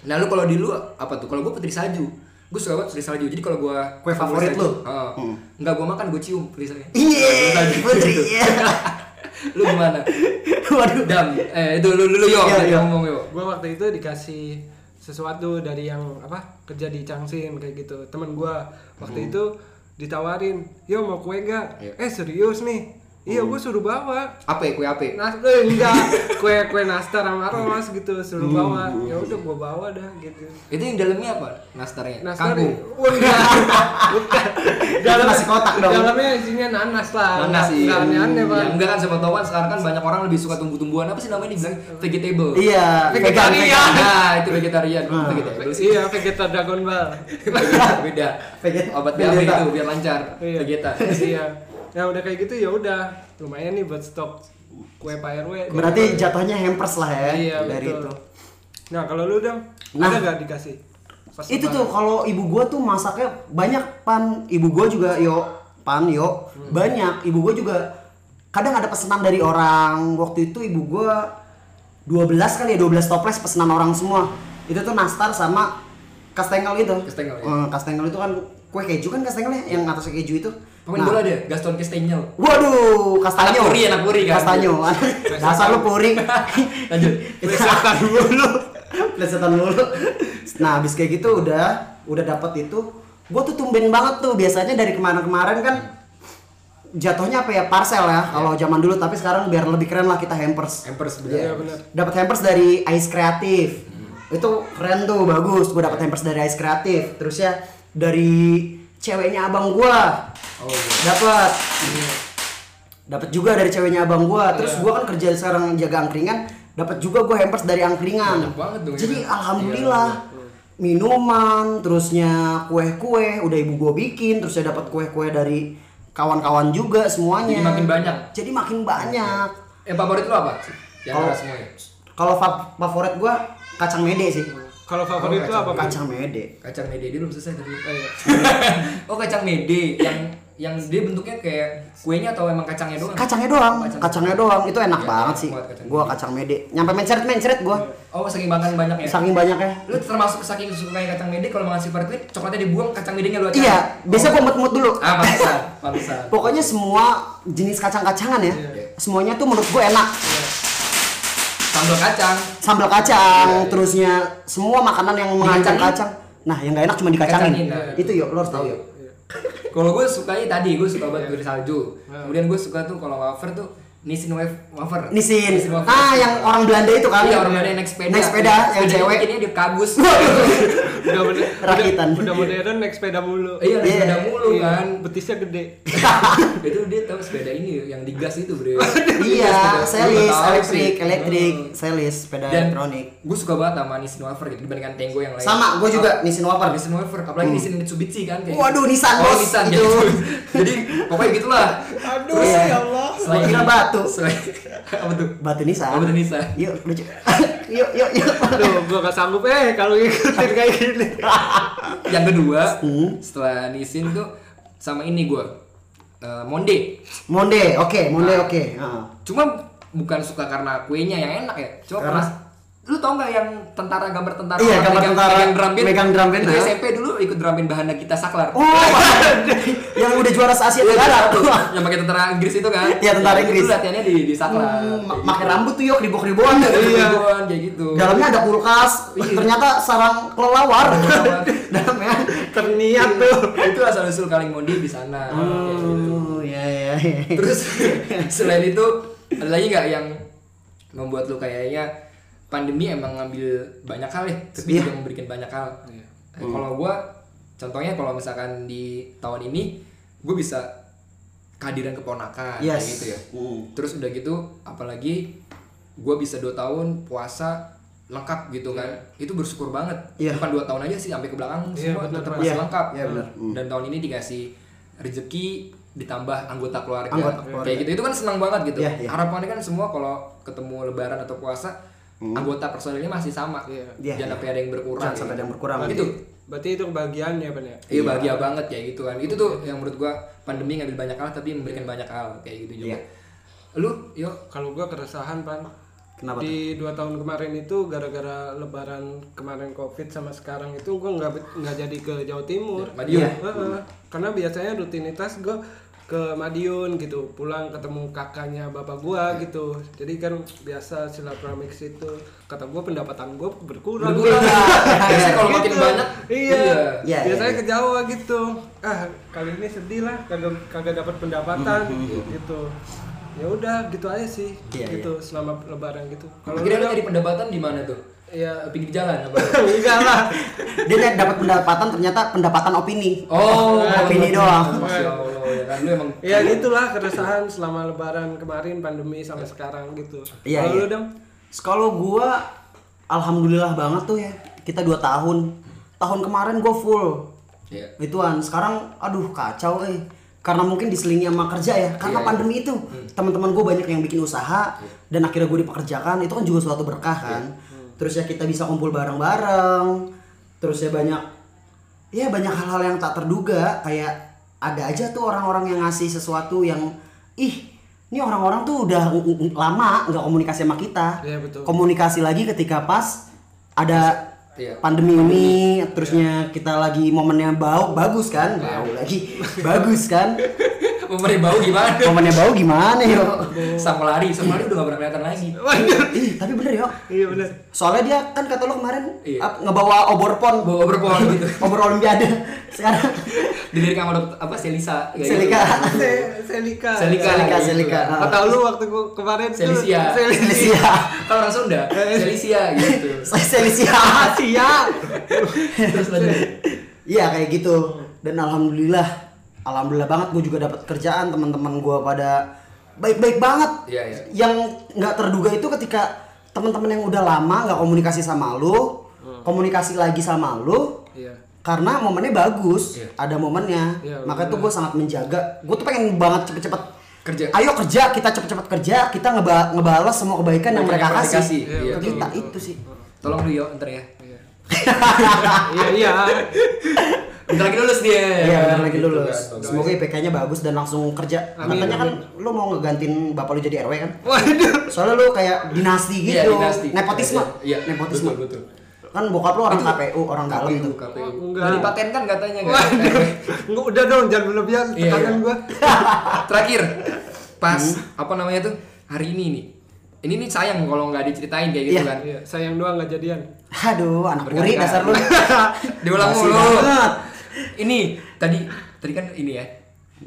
Nah lu kalau di lu apa tuh? Kalau gue putri salju, gue suka banget putri salju. Jadi kalau gue
Kue favorit lu? Mm.
Enggak gue makan gue cium putri salju.
Iya, Putri. Iya.
lu gimana?
Waduh.
Dam, eh itu lu lu, lu yo,
Iya, iya.
ngomong yo.
Gua waktu itu dikasih sesuatu dari yang apa kerja di Changsin kayak gitu. Temen gua
Hmm.
waktu itu ditawarin, "Yo mau kue gak?"
Iya.
Eh serius nih.
Hmm.
Iya, gua suruh bawa.
Apa ya kue apa? ya?
Nas eh, enggak kue kue nastar sama romas gitu suruh
Hmm.
bawa. Ya udah gua bawa dah gitu.
Itu yang dalamnya apa? Nastarnya?
Nastar. ya?
Kangkung.
Wah, enggak. Bukan.
Itu nasi kotak dong. iya.
Dalamnya isinya nanas lah.
Mana sih?
Nggak aneh-aneh nah, pak.
Ya, enggak kan sama tahu kan sekarang kan banyak orang lebih suka tumbuh-tumbuhan apa sih namanya dibilang vegetable.
Iya, Ah.
Vegetarian.
vegan.
Nah, itu vegetarian, bukan vegetable sih.
Iya, vegeta dragon ball.
Vegeta, beda.
Vegeta.
Obat BAB
Vegeta.
itu biar lancar.
Iya.
Vegeta.
Iya. Nah udah kayak gitu ya udah lumayan nih buat stok kue Pak RW.
Berarti jatuhnya hampers lah ya
Iya,
dari
betul.
itu.
Nah kalau lu dong,
Nah.
ada nggak dikasih? Pas
itu
lebaran.
tuh kalau ibu gua tuh masaknya banyak pan ibu gua juga yo pan yo
Hmm.
banyak ibu gua juga kadang ada pesanan dari orang waktu itu ibu gua 12 kali ya 12 toples pesanan orang semua itu tuh nastar sama kastengel itu
Kastengel, ya.
Eh, kastengel itu kan kue keju kan kastengel ya yang atasnya keju itu Nah,
Pemain bola dia, ya, Gaston Castagnol.
waduh kastanyo
Anak puri, anak puri kan?
kastanyo dasar lu puri
Lanjut.
Plesetan mulu. Plesetan mulu. Nah, habis kayak gitu udah udah dapat itu, gua tuh tumben banget tuh. Biasanya dari kemarin-kemarin kan jatuhnya apa ya parcel ya kalau zaman dulu tapi sekarang biar lebih keren lah kita hampers
Iya. Hampers
Iya
bener. Hmm.
benar.
dapat hampers dari Ice Kreatif itu keren tuh bagus gue
Iya.
dapat hampers dari Ice Kreatif terus ya dari ceweknya abang gua
Oh, iya.
dapat dapat juga dari ceweknya abang
Iya.
gua terus gua kan kerja sekarang jaga angkringan dapat juga gua hampers dari angkringan
Banyak banget dong,
jadi
ya.
alhamdulillah minuman terusnya kue-kue udah ibu gua bikin terus saya dapat kue-kue dari kawan-kawan juga semuanya
Jadi makin banyak.
jadi makin banyak
Yang favorit lu apa? Yang
Kalau-
oh. semuanya.
kalau fa- favorit gua kacang mede sih
Kalau
Oh,
favorit lu apa? Pak?
kacang mede
Kacang mede dia belum selesai tadi.
Oh, iya.
oh, kacang mede yang yang dia bentuknya kayak kuenya atau emang kacangnya doang?
kacangnya doang
Kacang.
kacangnya doang itu enak
Iya,
banget
enak
sih
banget kacang
gua
mede.
kacang mede nyampe menceret menceret gua
Oh, saking makan banyak ya.
saking banyaknya
Lu termasuk saking suka kayak kacang mede kalau makan silver queen, coklatnya dibuang, kacang medenya lu aja.
Iya, biasanya gua mut-mut dulu.
Ah, pantesan, pantesan.
Pokoknya semua jenis kacang-kacangan ya.
Iya.
Semuanya tuh menurut gue enak.
Sambal kacang.
Sambal
Iya,
kacang, terusnya semua makanan yang mengacang kacang. Nah, yang nggak enak cuma dikacangin.
Kacangin, nah.
Itu yuk, lo harus tahu yuk.
Kalau gue sukanya tadi, gue suka banget gurih salju. Kemudian gue suka tuh kalau wafer tuh nisin waf- wafer.
Nisin.
wafer.
Ah, yang orang Belanda itu kan.
Iya, orang Belanda yang naik sepeda.
Naik sepeda, yang cewek.
Ini dia kabus.
Udah bener.
Rakitan.
Udah, udah modern naik sepeda mulu.
Iya, naik
Iya.
sepeda mulu
Iya,
kan.
Betisnya gede.
itu dia tahu sepeda ini yang digas itu, Bro.
Iya,
Gua
selis,
tahu
elektrik,
sih. Hmm.
elektrik, selis, sepeda
Dan
elektronik.
gue suka banget sama nisin wafer gitu dibandingkan Tango yang lain.
Sama, gue juga nisin wafer. Hmm.
Nissan Wafer, apalagi Nissan Mitsubishi kan kayak.
Waduh, Nissan,
oh,
Bos.
Nissan
Itu.
gitu. Jadi pokoknya gitulah.
Aduh
Iya.
ya Allah.
Selain
Gua kira batu.
Selain apa tuh?
Batu Nissan.
Oh, batu Nissan.
Yuk, lucu. yuk, yuk, yuk.
Aduh, gua gak sanggup eh kalau ngikutin kayak gini.
Yang kedua, setelah Nissan tuh sama ini gue eh, Monde.
Monde, oke, Monde oke. Ah.
Cuma bukan suka karena kuenya yang enak ya. Cuma
Karena-
karena lu tau nggak yang tentara gambar tentara orang
Iya, gambar
megang-
tentara,
megang drum band
megang drum band,
itu
nah.
SMP dulu ikut drum band bahannya kita saklar
Oh, yang udah juara se Asia Tenggara.
yang pakai tentara Inggris itu kan
Iya, tentara
Itu
Inggris.
latihannya di di saklar
Hmm,
Kayak
Pakai
gitu.
rambut tuh yuk ribok-ribokan.
iya. kayak gitu.
Dalamnya ada kulkas, ternyata sarang kelelawar. Iya.
Kelelawar.
Iya. Dalamnya.
Terniat tuh.
itu asal usul kaleng mondi di sana. Kayak gitu.
Oh, iya iya. iya.
Terus selain itu ada lagi nggak yang membuat lu kayaknya pandemi emang ngambil banyak hal ya, tapi
Iya.
juga memberikan banyak hal. Eh, Kalau gua contohnya kalau misalkan di tahun ini gue bisa kehadiran keponakan kayak
Yes.
gitu ya.
Hmm.
Terus udah gitu apalagi gue bisa dua tahun puasa lengkap gitu kan itu bersyukur banget
Iya.
bukan dua tahun aja sih sampai ke belakang
Iya,
semua
bener,
tetap
Mas.
masih
Iya,
lengkap
iya, bener.
dan tahun ini dikasih rezeki ditambah anggota keluarga,
Anggota keluarga.
kayak gitu itu kan senang banget gitu
Iya, iya.
harapannya kan semua kalau ketemu lebaran atau puasa anggota personilnya masih sama
Iya.
Hmm. Iya,
jangan
iya.
sampai ada yang berkurang
Jangan sampai ada yang berkurang.
gitu
Berarti itu kebahagiaan ya, Pan ya.
Iya bahagia banget kayak gitu kan. Itu tuh yang menurut gua pandemi ngambil banyak hal tapi memberikan banyak hal kayak gitu juga.
Iya.
Lu, yuk
Kalau gua keresahan, Pan.
Kenapa
Di dua tahun kemarin itu gara-gara lebaran kemarin Covid sama sekarang itu gua nggak nggak jadi ke Jawa Timur. Iya,
Madiun.
Heeh. Karena biasanya rutinitas gue ke Madiun gitu, pulang ketemu kakaknya bapak gua
Iya.
gitu. Jadi kan biasa silaturahmi ke situ. Kata gua pendapatan gua berkurang.
Berkurang. Biasanya kalau makin
Gitu.
banyak,
Iya.
Iya,
biasanya
iya,
ke Jawa gitu. Ah, kali ini sedih lah kagak kagak dapat pendapatan gitu. Ya udah gitu aja sih.
Iya,
gitu selama lebaran gitu. Kalau Iya.
Kira-kira
lu-
dari pendapatan di mana tuh? ya pinggir jalan apa?
enggak lah
dia lihat dapat pendapatan ternyata pendapatan opini
Oh,
opini doang
Masya Allah, ya kan lu emang
ya gitulah keresahan selama lebaran kemarin pandemi sampai sekarang gitu
Iya,
Lalu
iya.
dong
kalau gua alhamdulillah banget tuh ya kita dua tahun tahun kemarin gua full
Iya.
ituan sekarang aduh kacau eh karena mungkin diselingi sama kerja ya
Iya,
karena pandemi itu
Hmm.
teman-teman gue banyak yang bikin usaha dan akhirnya gue dipekerjakan itu kan juga suatu berkah
Iya.
kan
Hmm.
terus ya kita bisa kumpul bareng-bareng terus ya banyak ya banyak hal-hal yang tak terduga kayak ada aja tuh orang-orang yang ngasih sesuatu yang ih ini orang-orang tuh udah ng- ng- lama nggak komunikasi sama kita
Iya, betul.
komunikasi lagi ketika pas ada
Iya.
pandemi ini terusnya kita lagi momennya bau bagus kan bau
Iya.
lagi bagus kan
memberi bau gimana?
momennya bau gimana yo
Sama lari, sama lari udah gak pernah kelihatan lagi.
Ih, tapi bener yo
iya benar
soalnya dia kan kata lo kemarin
Iya.
ap- ngebawa obor pon
Bawa berpon gitu.
obor olimpiade sekarang
Dilirik sama dokter apa Selisa kayak
selika
Se- Selika.
Selika.
selika
gitu.
selika
Kau tahu lu waktu gua kemarin tuh
Selisia.
Selisia.
selisia
gitu. Kalau orang Sunda, Selisia gitu.
Saya selisia
Asia.
Terus lanjut.
Iya kayak gitu. Dan alhamdulillah, alhamdulillah banget gue juga dapat kerjaan teman-teman gue pada baik-baik banget.
Iya, iya.
Yang nggak terduga itu ketika teman-teman yang udah lama nggak komunikasi sama lu,
Hmm.
komunikasi lagi sama lu,
Iya.
karena momennya bagus, ada momennya.
Iya,
Makanya tuh gue sangat menjaga. Gue tuh pengen banget cepet-cepet
Kerja.
Ayo kerja, kita cepet-cepet kerja, kita ngeba ngebalas semua kebaikan yang mereka
Kebaikan yang mereka
kasih.
kasih. Iya,
Ke
betul,
kita itu sih.
Tolong lu yo, ntar ya.
Iya iya.
Bentar lagi lulus dia.
Iya benar lagi
Gitu
lulus.
kan.
Semoga IPK-nya bagus dan langsung kerja.
Amin,
Katanya kan lu mau ngegantiin bapak lu jadi RW kan?
Waduh.
Soalnya lu kayak dinasti gitu.
Iya, dinasti.
Nepotisme.
Iya,
nepotisme.
betul, betul.
Kan bokap lu orang KPU, orang dalam
KPU,
tuh. Oh,
KPU.
Enggak.
Udah dipatenkan kan katanya enggak?
Waduh. Enggak udah dong jangan berlebihan
Iya,
tekanan
iya.
gua.
Terakhir, pas
Hmm.
apa namanya tuh hari ini nih. Ini nih sayang kalau nggak diceritain kayak gitu
Iya.
kan.
Iya, sayang doang nggak jadian.
Aduh, anak puri
Berkali-kali.
dasar lu.
Diulang
Basi
mulu.
banget.
Ini tadi tadi kan ini ya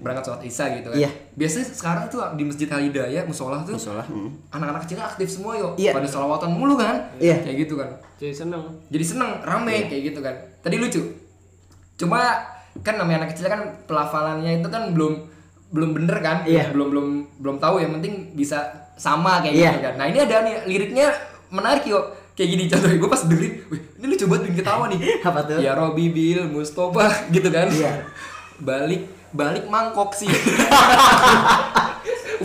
berangkat sholat isya gitu kan.
Iya.
Biasanya sekarang tuh di masjid Al Hidayah musola tuh.
Musola, mm.
Anak-anak kecil aktif semua yo.
Iya.
Pada sholawatan mulu kan.
Iya.
Kayak gitu kan.
Jadi seneng.
Jadi seneng rame kayak gitu kan. Tadi lucu. Cuma kan namanya anak kecil kan pelafalannya itu kan belum belum bener kan.
Iya.
Belum belum belum tahu yang penting bisa sama kayak
Iya.
gitu kan. Nah ini ada nih liriknya menarik yo. Kayak gini contohnya gue pas dengerin, wih ini lucu banget bikin ketawa nih.
Apa tuh?
Ya Robi Bil Mustafa gitu kan.
Iya.
balik balik mangkok sih.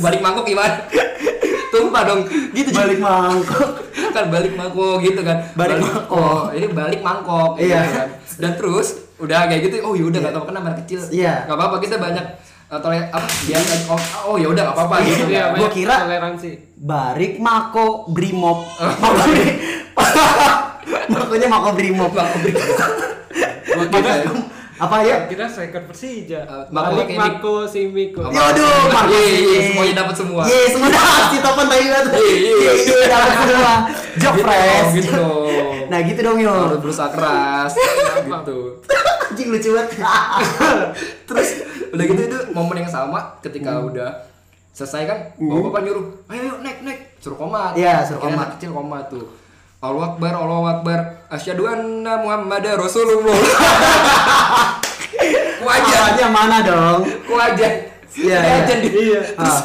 balik mangkok gimana? Tumpah dong. Gitu
Balik mangkok.
kan balik mangkok gitu kan
Balik mangkok.
ini balik mangkok gitu
Iya.
kan. dan terus udah kayak gitu oh yaudah nggak tahu kenapa anak kecil
Iya.
nggak apa-apa kita banyak atau apa biasa oh, oh yaudah nggak apa-apa gitu kan.
Iya,
Gua
banyak
kira-
toleransi.
Barik Mako Brimob.
Oh, iya.
Makonya Mako Brimob.
Bang, beri-
Gua kira
Gitu.
Apa ya?
kira striker Persija.
Eh, Mako
Balik
Kimi.
Mako Simiko.
Iya.
Apa?
Yodoh, Marco
Yeay,
Simi.
yeay, iya, semuanya dapat semua.
Yeay, Iya, semua dapat si topan tadi banget.
Yeay, yeay.
Yeay, Iya, dapat semua. Jok
Gitu
fresh.
dong, gitu dong.
Nah, gitu dong, yo.
harus berusaha keras gitu
Anjing lucu banget.
terus udah gitu itu momen yang sama ketika
Hmm.
udah selesai kan bapak bapak nyuruh ayo ayo naik naik suruh koma
Iya,
Akhirnya
suruh koma.
anak kecil koma tuh Allahu Akbar, Allahu Akbar, Asyhadu anna Muhammad Rasulullah. Wajar,
Awalnya mana dong?
wajar.
Ah. Iya,
Wajar
iya.
dia.
Iya.
Terus,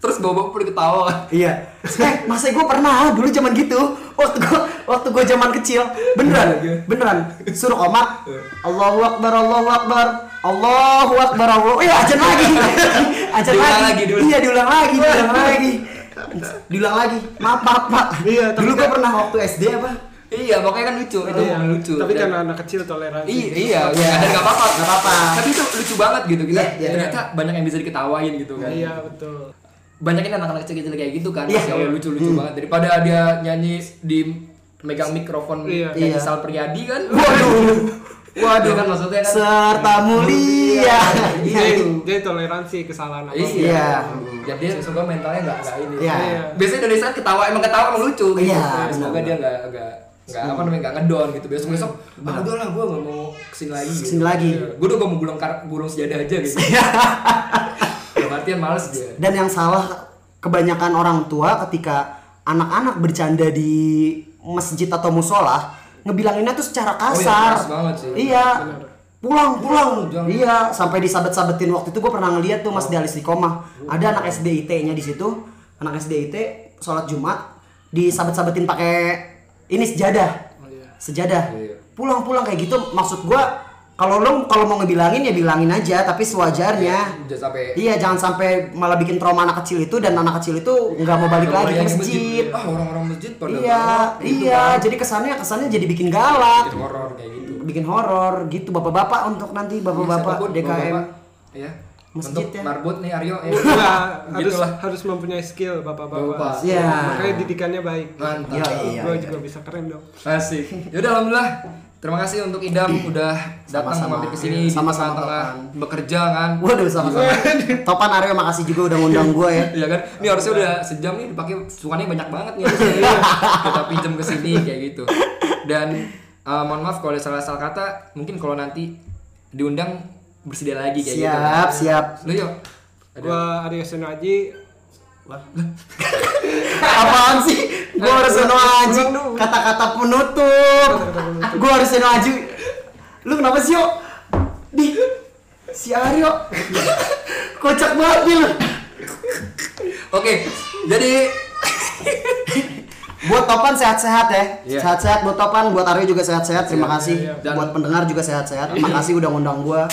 terus bapak udah ketawa.
Iya. Eh, masa gue pernah dulu zaman gitu. Waktu gue waktu gue zaman kecil. Beneran, beneran. Suruh komat. Allahu Akbar, Allahu Akbar. Allahu Akbar, Allahu. Iya, ajan lagi. Ajan
Diulang
lagi.
lagi dulu.
Iya, diulang lagi, diulang lagi. Diulang lagi. Maaf, maaf, Pak.
Iya, tapi
dulu gue
kan-
pernah waktu SD apa?
Iya, makanya kan lucu. Itu
Iya.
momen lucu.
Tapi
Dan-
karena anak kecil toleransi.
Iya, iya, iya.
Iya.
Dan nggak apa-apa.
Nggak apa-apa.
Tapi itu lucu banget gitu. Kita
Iya, iya.
ternyata banyak yang bisa diketawain gitu kan.
Iya, betul.
banyakin anak-anak kecil-kecil kayak gitu kan
Iya.
Masya Allah lucu-lucu banget daripada dia nyanyi di megang mikrofon
Iya.
kayak
Iya.
Sal Priadi kan
Waduh.
waduh kan maksudnya kan
Serta mulia. Iya.
Jadi,
itu.
jadi toleransi kesalahan apa?
Iya.
ya dia suka mentalnya nggak nggak ini
Iya.
biasanya Indonesia ketawa emang ketawa emang lucu gitu.
Iya,
Nah, semoga
benar. Iya,
dia nggak nggak nggak apa namanya nggak ngedown gitu besok besok ah udah lah gue nggak mau kesini lagi gitu.
Kesini lagi. Iya.
gue udah gak mau gulung kar gulung sejadah aja gitu Dalam artian males dia
Dan yang salah kebanyakan orang tua ketika anak-anak bercanda di masjid atau musola ngebilanginnya tuh secara
iya,
kasar.
keras banget sih.
Iya. Pulang, pulang.
jangan.
Iya, sampai disabet-sabetin waktu itu gue pernah ngeliat tuh
Oh.
Mas Dialis Likoma. Ada anak SDIT-nya di situ, anak SDIT sholat Jumat disabet-sabetin pakai ini sejadah.
Oh,
Sejadah.
Iya.
Pulang-pulang kayak gitu maksud gua kalau lo kalau mau ngebilangin ya bilangin aja tapi sewajarnya.
Udah sampai
Iya, jangan sampai malah bikin trauma anak kecil itu dan anak kecil itu nggak mau balik lagi ke
Bayangin
masjid.
Ah, orang-orang masjid pada
Iya,
banget, gitu
iya.
kan.
Jadi kesannya kesannya jadi bikin galak,
Bikin horor kayak gitu. Iya,
bikin horor gitu bapak-bapak untuk nanti bapak-bapak
Siapapun,
DKM.
bapak-bapak, ya.
Masjid
Untuk
ya.
marbot nih Aryo ya.
Nah, harus
Begitulah.
harus mempunyai skill
Bapak.
bapak-bapak.
Iya.
Makanya didikannya baik.
Mantap.
Iya, iya.
Gue juga bisa keren dong.
Asik. Yaudah alhamdulillah. Terima kasih untuk Idam udah datang
Sama-sama.
mampir ke sini di
Sama-sama,
tengah-tengah
Topan.
bekerja kan.
Waduh sama-sama. Topan Aryo makasih juga udah ngundang gue ya.
Iya kan? Ini harusnya udah sejam nih dipakai sukannya banyak banget nih. harusnya. Iya. Kita pinjam ke sini kayak gitu. Dan eh, mohon maaf kalau ada salah-salah kata, mungkin kalau nanti diundang bersedia lagi kayak gitu.
Siap, siap.
Lu yuk.
Gue Aryo Seno Aji.
Apaan sih? Gue
Nah,
harus Eno Aji. Kata-kata penutup. Gue harus Eno Aji. Lu kenapa sih yo? Di si Aryo. Kocak banget nih lu.
Oke. Jadi
Buat Topan sehat-sehat ya.
Iya.
Sehat-sehat buat Topan, buat Aryo juga sehat-sehat. Terima kasih.
iya. Dan-
Buat pendengar juga sehat-sehat. Terima kasih udah ngundang gua.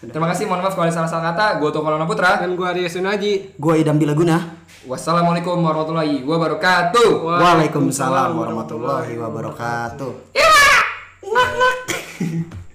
terima kasih mohon maaf kalau ada salah-salah kata. Gue Tokolona Putra.
Dan gue Aryo Seno Aji.
Gua Idam Bilaguna.
Wassalamualaikum warahmatullahi wabarakatuh.
Waalaikumsalam warahmatullahi wabarakatuh.